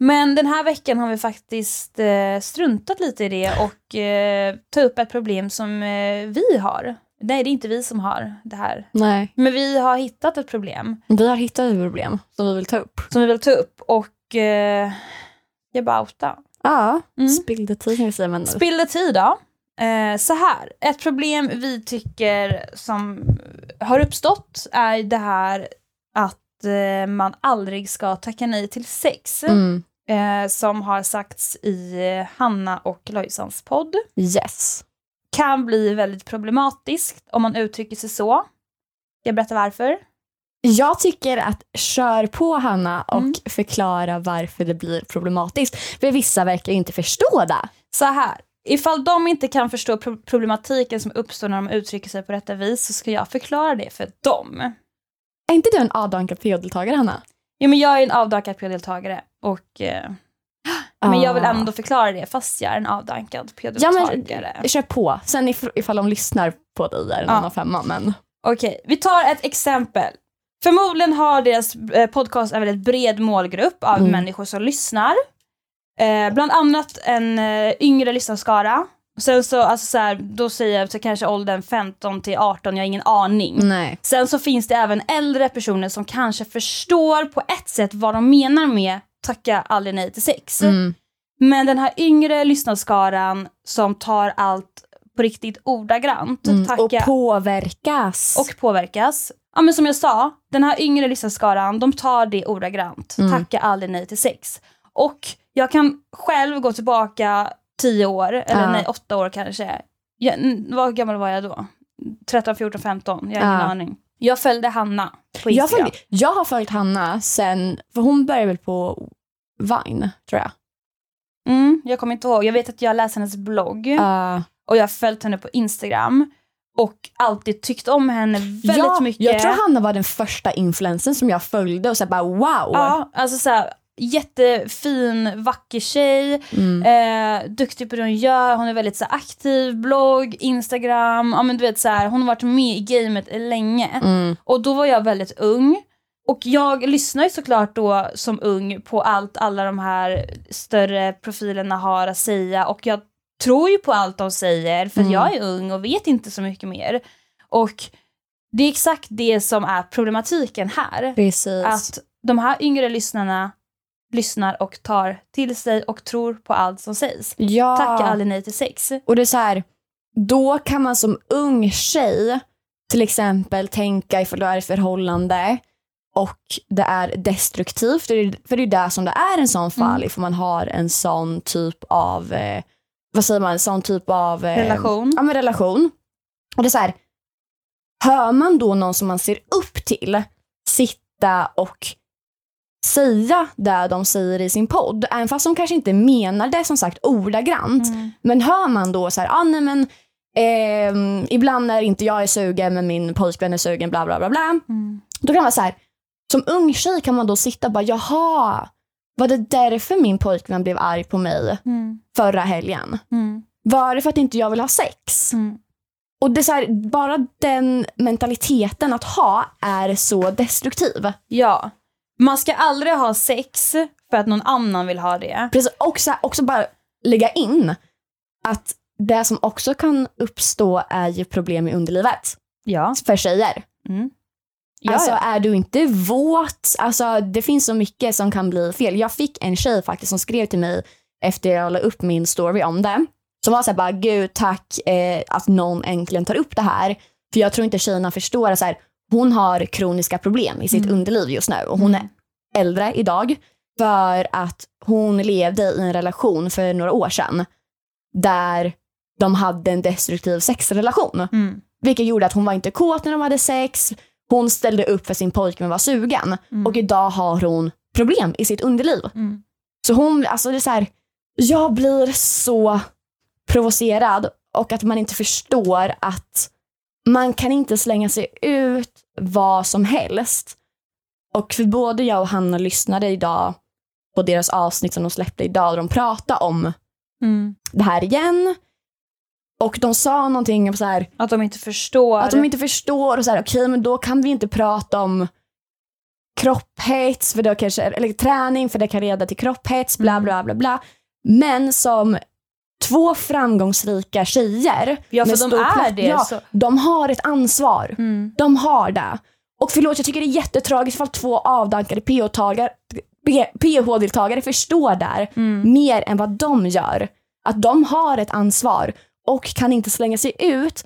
Men den här veckan har vi faktiskt eh, struntat lite i det och eh, ta upp ett problem som eh, vi har. Nej, det är inte vi som har det här.
Nej.
Men vi har hittat ett problem
Vi har hittat ett problem som vi vill ta upp.
som vi vill ta upp och eh, jag bara outa.
Ja.
Mm.
Spill the tea kan vi säga men...
Spilla tid då. Eh, så här, ett problem vi tycker som har uppstått är det här att eh, man aldrig ska tacka nej till sex.
mm.
Eh, som har sagts i eh, Hanna och Lojsans podd.
Yes.
Kan bli väldigt problematiskt om man uttrycker sig så. Jag berättar varför.
Jag tycker att kör på Hanna och
Mm.
förklara varför det blir problematiskt. För vissa verkar ju inte förstå det.
Så här, ifall de inte kan förstå pro- problematiken som uppstår när de uttrycker sig på detta vis så ska jag förklara det för dem.
Är inte du en avdankad PO-deltagare Hanna?
Ja, men jag är en avdankad PO-deltagare och eh, men jag vill
Ah.
ändå förklara det fast jag är en avdankad
Ja, men-
PO-deltagare.
Kör på. Sen if- ifall de lyssnar på dig är det en
Ja.
annan femma. Men...
Okej, vi tar ett exempel. Förmodligen har deras eh, podcast en väldigt bred målgrupp av
Mm.
människor som lyssnar. Eh, bland annat en eh, yngre lyssnarskara. Sen så, alltså så här, då säger jag så kanske åldern 15 till 18, jag har ingen aning.
Nej.
Sen så finns det även äldre personer som kanske förstår på ett sätt vad de menar med tacka aldrig nej till sex.
Mm.
Men den här yngre lyssnarskaran som tar allt på riktigt ordagrant.
Mm.
Tacka
Och påverkas.
och påverkas. Ja men som jag sa, den här yngre lyssnarskaran, de tar det ordagrant.
Mm.
Tacka aldrig nej till sex. Och jag kan själv gå tillbaka tio år, eller
Ja.
nej, åtta år kanske. Jag, n- vad gammal var jag då? 13, 14, 15? Jag har ingen
Ja.
aning. Jag följde Hanna på
Jag,
Instagram.
följ, jag har följt Hanna sen, för hon började väl på Vine, tror jag.
Mm, jag kommer inte ihåg. Jag vet att jag läste hennes blogg
Uh,
och jag har följt henne på Instagram och alltid tyckt om henne väldigt
ja,
mycket.
Jag tror Hanna var den första influensen som jag följde och så här bara wow.
Ja, alltså så här, jättefin, vacker tjej,
Mm.
eh, duktig på det hon gör, hon är väldigt så här, aktiv, blogg, Instagram, ja men du vet så här, hon har varit med i gamet länge.
Mm.
Och då var jag väldigt ung. Och jag lyssnar ju såklart då som ung på allt alla de här större profilerna har att säga och jag tror ju på allt de säger för
Mm.
jag är ung och vet inte så mycket mer. Och det är exakt det som är problematiken här.
Precis.
Att de här yngre lyssnarna lyssnar och tar till sig och tror på allt som sägs.
ja. Ehm.
Tacka aldrig nej till sex.
Och det är så här, då kan man som ung tjej till exempel tänka ifall du är i förhållande och det är destruktivt, för det är- för det är ju det som det är i en sån fall,
Mm.
ifall man har en sån typ av, eh, vad säger man, en sån typ av eh,
Relation.
Ja, men relation. Och det är så här, hör man då någon som man ser upp till sitta och säga det de säger i sin podd, även fast de kanske inte menar det som sagt ordagrant,
Mm.
men hör man då så här, ah, nej men ehm, ibland när inte jag är sugen men min pojkvän är sugen, bla bla bla bla.
Mm.
Då kan man vara så här, som ung tjej kan man då sitta och bara, jaha, var det därför min pojkvän blev arg på mig
Mm.
förra helgen?
Mm.
Var det för att inte jag vill ha sex?
Mm.
Och det är så här, bara den mentaliteten att ha är så destruktiv.
Ja. Man ska aldrig ha sex för att någon annan vill ha det.
Precis, och så här, också bara lägga in att det som också kan uppstå är ju problem i underlivet
Ja.
för tjejer.
Mm. Ja,
alltså
ja.
är du inte våt, alltså det finns så mycket som kan bli fel. Jag fick en tjej faktiskt som skrev till mig efter jag la upp min story om det. Som var såhär bara, gud tack eh, att någon äntligen tar upp det här. För jag tror inte tjejerna förstår att så här, hon har kroniska problem i sitt
Mm.
underliv just nu. Och hon är äldre idag för att hon levde i en relation för några år sedan där de hade en destruktiv sexrelation.
Mm.
Vilket gjorde att hon var inte kåt när de hade sex. Hon ställde upp för sin pojkvän var sugen.
Mm.
Och idag har hon problem i sitt underliv.
Mm.
Så hon, alltså det är så här, jag blir så provocerad och att man inte förstår att man kan inte slänga sig ut vad som helst. Och för både jag och Hanna lyssnade idag på deras avsnitt som de släppte idag där de pratade om
Mm.
det här igen. Och de sa någonting om så här,
Att de inte förstår.
att de inte förstår och så här, okej men då kan vi inte prata om kropphets, för då kanske, eller träning för det kan leda till kropphets, bla
Mm.
bla bla bla. Men som två framgångsrika tjejer,
ja,
med
för de
stor
är
plats-
det.
ja.
Så.
de har ett ansvar.
Mm.
De har det. Och förlåt, jag tycker det är jättetragiskt ifall två avdankade PH-tagare- P- PH-deltagare förstår där
Mm.
mer än vad de gör. Att de har ett ansvar och kan inte slänga sig ut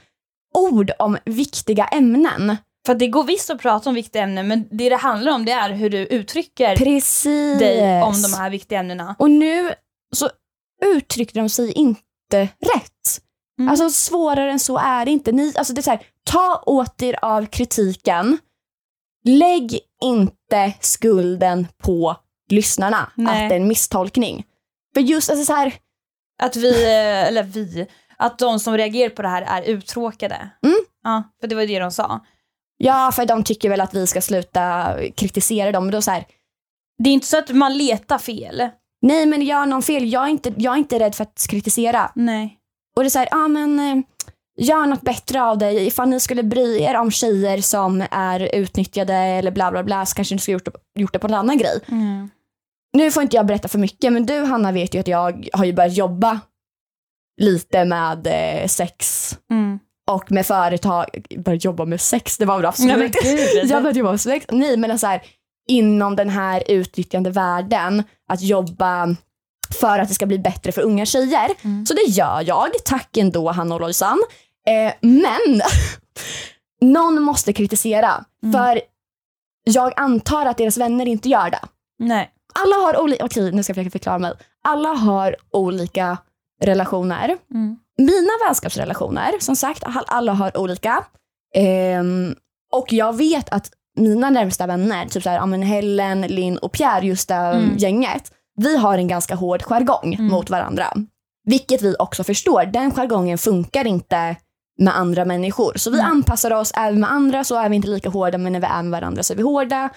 ord om viktiga ämnen.
För att det går visst att prata om viktiga ämnen men det det handlar om det är hur du uttrycker
Precis.
dig om de här viktiga ämnena.
Och nu så uttryckte de sig inte rätt.
Mm.
Alltså svårare än så är det inte. Ni, alltså det är så här, ta åt er av kritiken. Lägg inte skulden på lyssnarna
Nej.
att det är en misstolkning. För just alltså så här,
Att vi, eh, eller vi, att de som reagerar på det här är uttråkade.
Mm.
Ja, för det var ju det de sa.
ja för de tycker väl att vi ska sluta kritisera dem. Men då så här,
Det är inte så att man letar fel.
Nej men gör någon fel, jag är inte, jag är inte rädd för att kritisera.
Nej.
Och det är såhär, ja ah, men eh, gör något bättre av dig. Ifall ni skulle bry er om tjejer som är utnyttjade eller bla bla bla så kanske ni skulle gjort, det- gjort det på en annan grej.
Mm.
Nu får inte jag berätta för mycket men du Hanna vet ju att jag har ju börjat jobba lite med eh, sex
Mm.
och med företag. Börjat jobba med sex, det var väl absolut
Nej, men gud.
jag började jobba med sex. Nej men alltså så här, inom den här utnyttjande världen att jobba för att det ska bli bättre för unga tjejer.
Mm.
Så det gör jag. Tack ändå Hanna och Lojsan. Eh, men någon måste kritisera
Mm.
för jag antar att deras vänner inte gör det.
Nej.
alla har olika, okej nu ska jag försöka förklara mig. Alla har olika relationer.
Mm.
Mina vänskapsrelationer, som sagt, all- alla har olika. Ehm, och jag vet att mina närmsta vänner, typ så här, ja, men Helen, Linn och Pierre, just det
Mm.
gänget, vi har en ganska hård jargong
Mm.
mot varandra. Vilket vi också förstår, den jargongen funkar inte med andra människor. Så vi
Mm.
anpassar oss även med andra, så är vi inte lika hårda, men när vi är med varandra så är vi hårda.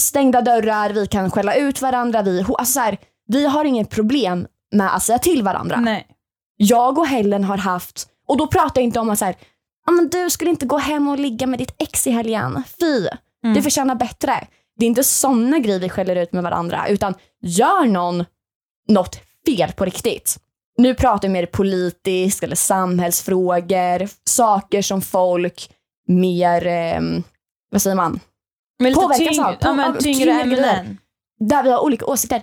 Stängda dörrar, vi kan skälla ut varandra. Vi, är hå- alltså så här, vi har inget problem med att säga till varandra
Nej.
jag och Helen har haft, och då pratar jag inte om att så här, "Ja, men du skulle inte gå hem och ligga med ditt ex i helgen, fy,
Mm.
du förtjänar bättre. Det är inte sådana grejer vi skäller ut med varandra, utan gör någon något fel på riktigt. Nu pratar vi mer politiskt eller samhällsfrågor, saker som folk mer, ehm, vad säger man,
Men lite
påverkas av-
tyngre, ja, men
av-
tyngre
tyngre grejer.
ämnen.
där vi har olika åsikter.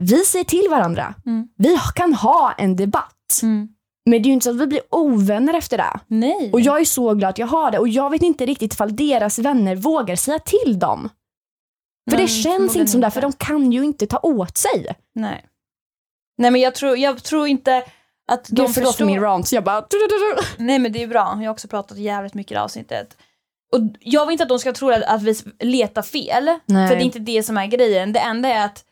Vi säger till varandra.
Mm.
Vi kan ha en debatt,
Mm.
men det är ju inte så att vi blir ovänner efter det.
Nej.
Och jag är så glad att jag har det och jag vet inte riktigt ifall deras vänner vågar säga till dem. För
Nej,
det känns
förmodligen
inte som det, för de kan ju inte ta åt sig.
Nej. Nej men jag tror, jag tror inte att de
Gud, förlåt för
förstår.
min rant, jag bara...
Nej men det är bra, jag har också pratat jävligt mycket i det här avsnittet. Och jag vill inte att de ska tro att, att vi letar fel,
Nej.
för det är inte det som är grejen. Det enda är att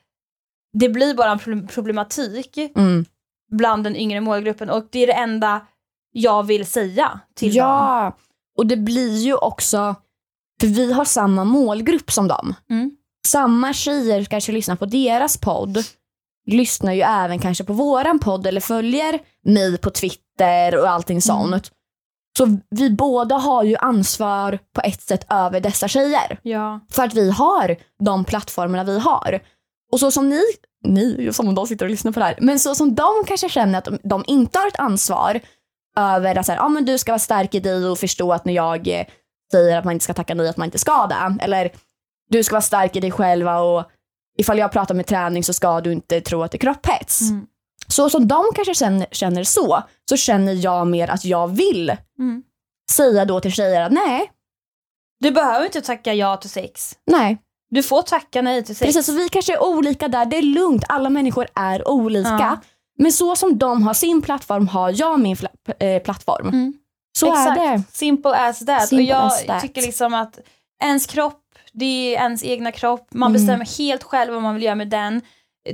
det blir bara en problem- problematik
Mm.
bland den yngre målgruppen och det är det enda jag vill säga till dem.
Ja, och det blir ju också, för vi har samma målgrupp som dem.
Mm.
Samma tjejer kanske lyssnar på deras podd, lyssnar ju även kanske på våran podd eller följer mig på Twitter och allting sånt. Så vi båda har ju ansvar på ett sätt över dessa tjejer.
Ja.
För att vi har de plattformarna vi har. Och så som ni, ni som de sitter och lyssnar på det här, men så som de kanske känner att de, de inte har ett ansvar över att så här, ah, men du ska vara stark i dig och förstå att när jag eh, säger att man inte ska tacka nej, att man inte ska det. Eller du ska vara stark i dig själva och ifall jag pratar med träning så ska du inte tro att det är kropphets.
Mm.
Så som de kanske känner, känner så, så känner jag mer att jag vill
Mm.
säga då till tjejer att nej,
Du behöver inte tacka ja till sex.
nej,
Du får tacka nej till sex.
Precis, så vi kanske är olika där. Det är lugnt, alla människor är olika.
Ja.
Men så som de har sin plattform har jag min fla- eh, plattform.
Mm.
Så
Exakt.
är det.
Simple as that.
Simple
och jag
as that.
tycker liksom att ens kropp, det är ens egna kropp. Man
Mm.
bestämmer helt själv vad man vill göra med den.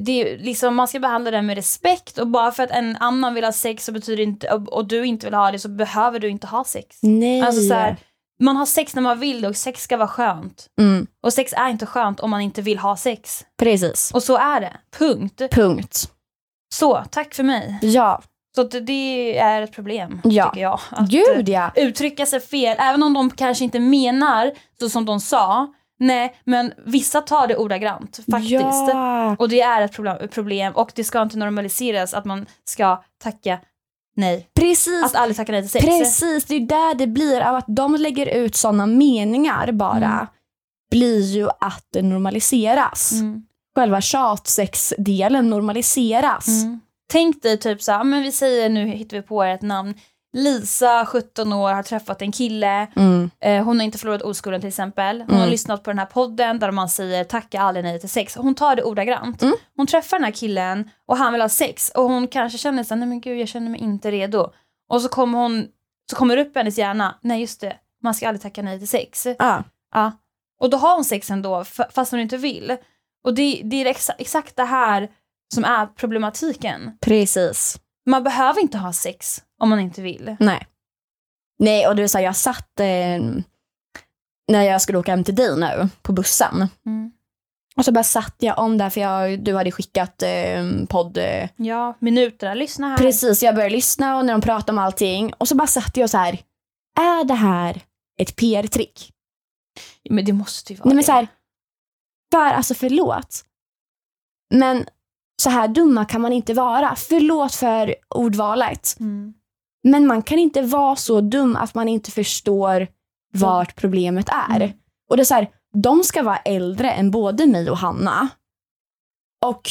Det är liksom, man ska behandla den med respekt och bara för att en annan vill ha sex så betyder inte, och, och du inte vill ha det så behöver du inte ha sex.
Nej.
Alltså så här, man har sex när man vill och sex ska vara skönt.
mm,
Och sex är inte skönt om man inte vill ha sex.
precis.
Och så är det. Punkt.
Punkt.
Så, tack för mig.
Ja.
Så att det- det är ett problem,
Ja.
tycker jag. Att, eh,
Gud ja.
uttrycka sig fel, även om de kanske inte menar så som de sa. Nej, men vissa tar det ordagrant faktiskt.
Ja.
Och det är ett problem, problem och det ska inte normaliseras att man ska tacka nej.
Precis.
Att aldrig tacka nej till sex.
Precis, det är ju där det blir av att de lägger ut sådana meningar bara.
Mm.
blir ju att det normaliseras.
Mm.
Själva tjatsexdelen normaliseras.
Mm. Tänk dig typ så här, men vi säger nu hittar vi på ett namn. Lisa, 17 år, har träffat en kille.
Mm.
Eh, hon har inte förlorat oskulden till exempel. Hon har
Mm.
lyssnat på den här podden där man säger tacka aldrig nej till sex. Hon tar det ordagrant.
Mm.
Hon träffar den här killen och han vill ha sex och hon kanske känner så här, nej men gud jag känner mig inte redo. Och så kommer hon, så kommer det upp i hennes hjärna, nej just det, man ska aldrig tacka nej till sex.
Ja.
Ja. Och då har hon sex ändå f- fast hon inte vill. Och det, det är exa- exakt det här som är problematiken.
Precis.
Man behöver inte ha sex om man inte vill.
Nej. Nej, och du sa jag satt eh, när jag skulle åka hem till dig nu på bussen. Och så bara satt jag om där för jag, du hade skickat eh, podd. Eh,
Ja, minuterna, lyssna här.
precis, jag började lyssna och när de pratade om allting. Och så bara satt jag så här. Är det här ett PR-trick?
Men det måste ju vara
Nej men
det.
så här. För alltså förlåt. Men så här dumma kan man inte vara. Förlåt för ordvalet.
Mm.
Men man kan inte vara så dum att man inte förstår vart problemet är.
Mm.
Och det är så här, de ska vara äldre än både mig och Hanna. Och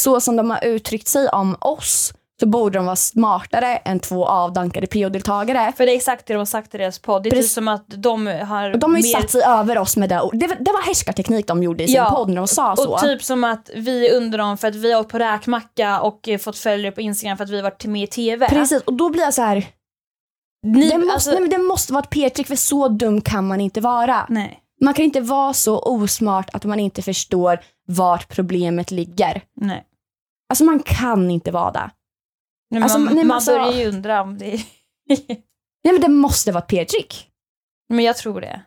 så som de har uttryckt sig om oss så borde de vara smartare än två avdankade PO-deltagare.
För det är exakt det de har sagt i deras podd. Det är typ
Precis.
som att de har...
Och de har ju
mer-
satt sig över oss med det ordet. Det, var- det var härskarteknik de gjorde i sin
Ja,
podd när de sa så.
Och typ som att vi är under dem för att vi har åkt på räkmacka och eh, fått följare på Instagram för att vi har varit med i TV.
Precis, och då blir jag så här.
Ni,
det, måste,
alltså,
nej, men det måste vara ett p-trick för så dum kan man inte vara.
nej.
Man kan inte vara så osmart att man inte förstår vart problemet ligger.
Nej.
Alltså man kan inte vara det.
Nej, men
Alltså,
man
nej, men
man
alltså-
börjar ju undra om det är...
Nej men det måste vara ett p-trick.
Men jag tror det.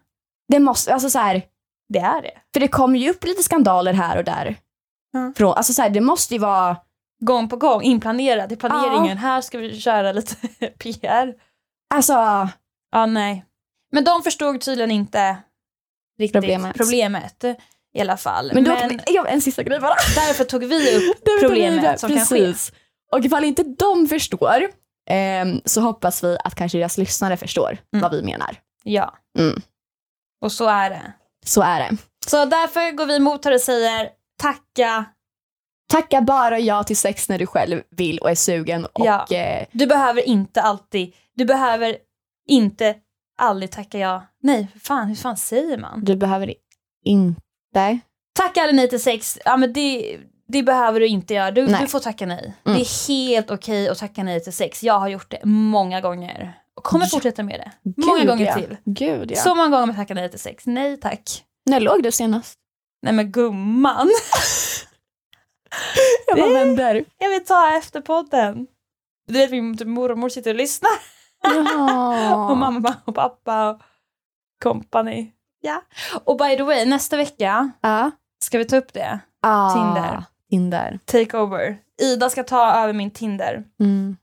Det måste, alltså så här,
Det är det.
för det kommer ju upp lite skandaler här och där.
Ja.
Från, alltså så här, det måste ju vara,
Gång på gång, inplanerat i planeringen.
Ja.
Här ska vi köra lite PR.
alltså
Ja, nej. Men de förstod tydligen inte riktigt
Problemet.
problemet, i alla fall.
Men,
Men,
då, jag, en sista grej bara.
därför tog vi upp
Därför tar vi
problemet
vidare.
som kan ske.
Precis. Och ifall inte de förstår ehm, så hoppas vi att kanske deras lyssnare förstår
Mm.
vad vi menar.
Ja.
Mm.
Och så är det.
Så är det.
Så därför går vi emot här och säger tacka.
Tacka bara ja till sex när du själv vill och är sugen. Och,
Ja.
eh,
Du behöver inte alltid, du behöver inte aldrig tacka ja. Nej, fan, hur fan säger man?
du behöver inte...
Tacka eller nej till sex, ja men det, det behöver du inte göra. Du,
Nej.
du får tacka nej.
Mm.
Det är helt okej att tacka nej till sex. Jag har gjort det många gånger. Och kommer
Ja.
fortsätta med det. Många
Gud,
gånger
ja.
till.
Gud ja.
Så många gånger man tackar nej till sex. Nej tack.
När låg du senast?
Nej men gumman.
Jag bara vänder.
Jag vill ta efter podden. Du vet min typ mormor sitter och lyssnar.
Jaha.
Och mamma och pappa och company. Ja. Och by the way, nästa vecka
Ja.
ska vi ta upp det.
Ah.
Tinder.
Tinder.
Takeover. Ida ska ta över min Tinder
Mm.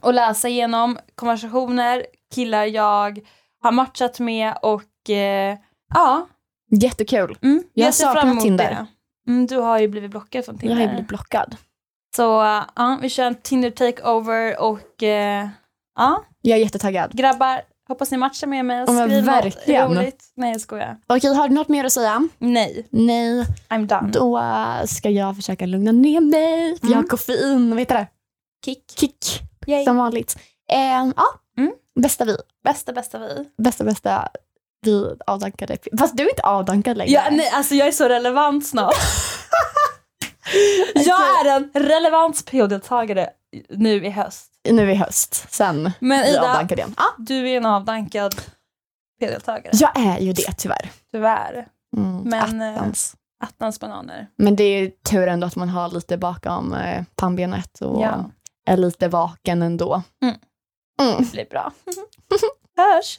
och läsa igenom konversationer, killar jag har matchat med och eh, ja.
Jättekul.
Mm,
Jag saknar Tinder.
det. Mm, du har ju blivit blockad från
Jag
Tinder.
har ju blivit blockad.
Så eh, ja, vi kör en Tinder takeover och eh, ja,
Jag är jättetaggad.
grabbar, hoppas ni matchar med mig.
Ja, men
Skriv
verkligen.
något roligt. Nej, jag skojar.
Okej, har du något mer att säga?
Nej,
Nej.
I'm done.
Då eh, ska jag försöka lugna ner mig. för Jag har koffein, vad heter det?
Mm. Kick.
Kick,
Yay.
som vanligt. Eh, ja,
Mm.
bästa vi.
Bästa bästa vi.
Bästa, bästa vi avdankade. Fast du är inte avdankad längre.
Ja, nej, alltså jag är så relevant snart. jag är en relevant PO-deltagare nu i höst.
Nu i höst, sen
Men
vi
Ida,
avdankade igen. Ja,
du är en avdankad PO-deltagare.
jag är ju det tyvärr.
Tyvärr.
Mm,
Men, eh,
attans.
Attans bananer.
Men det är tur ändå att man har lite bakom eh, pannbenet och
Ja.
är lite vaken ändå.
Mm.
Mm.
Det blir bra. Hörs!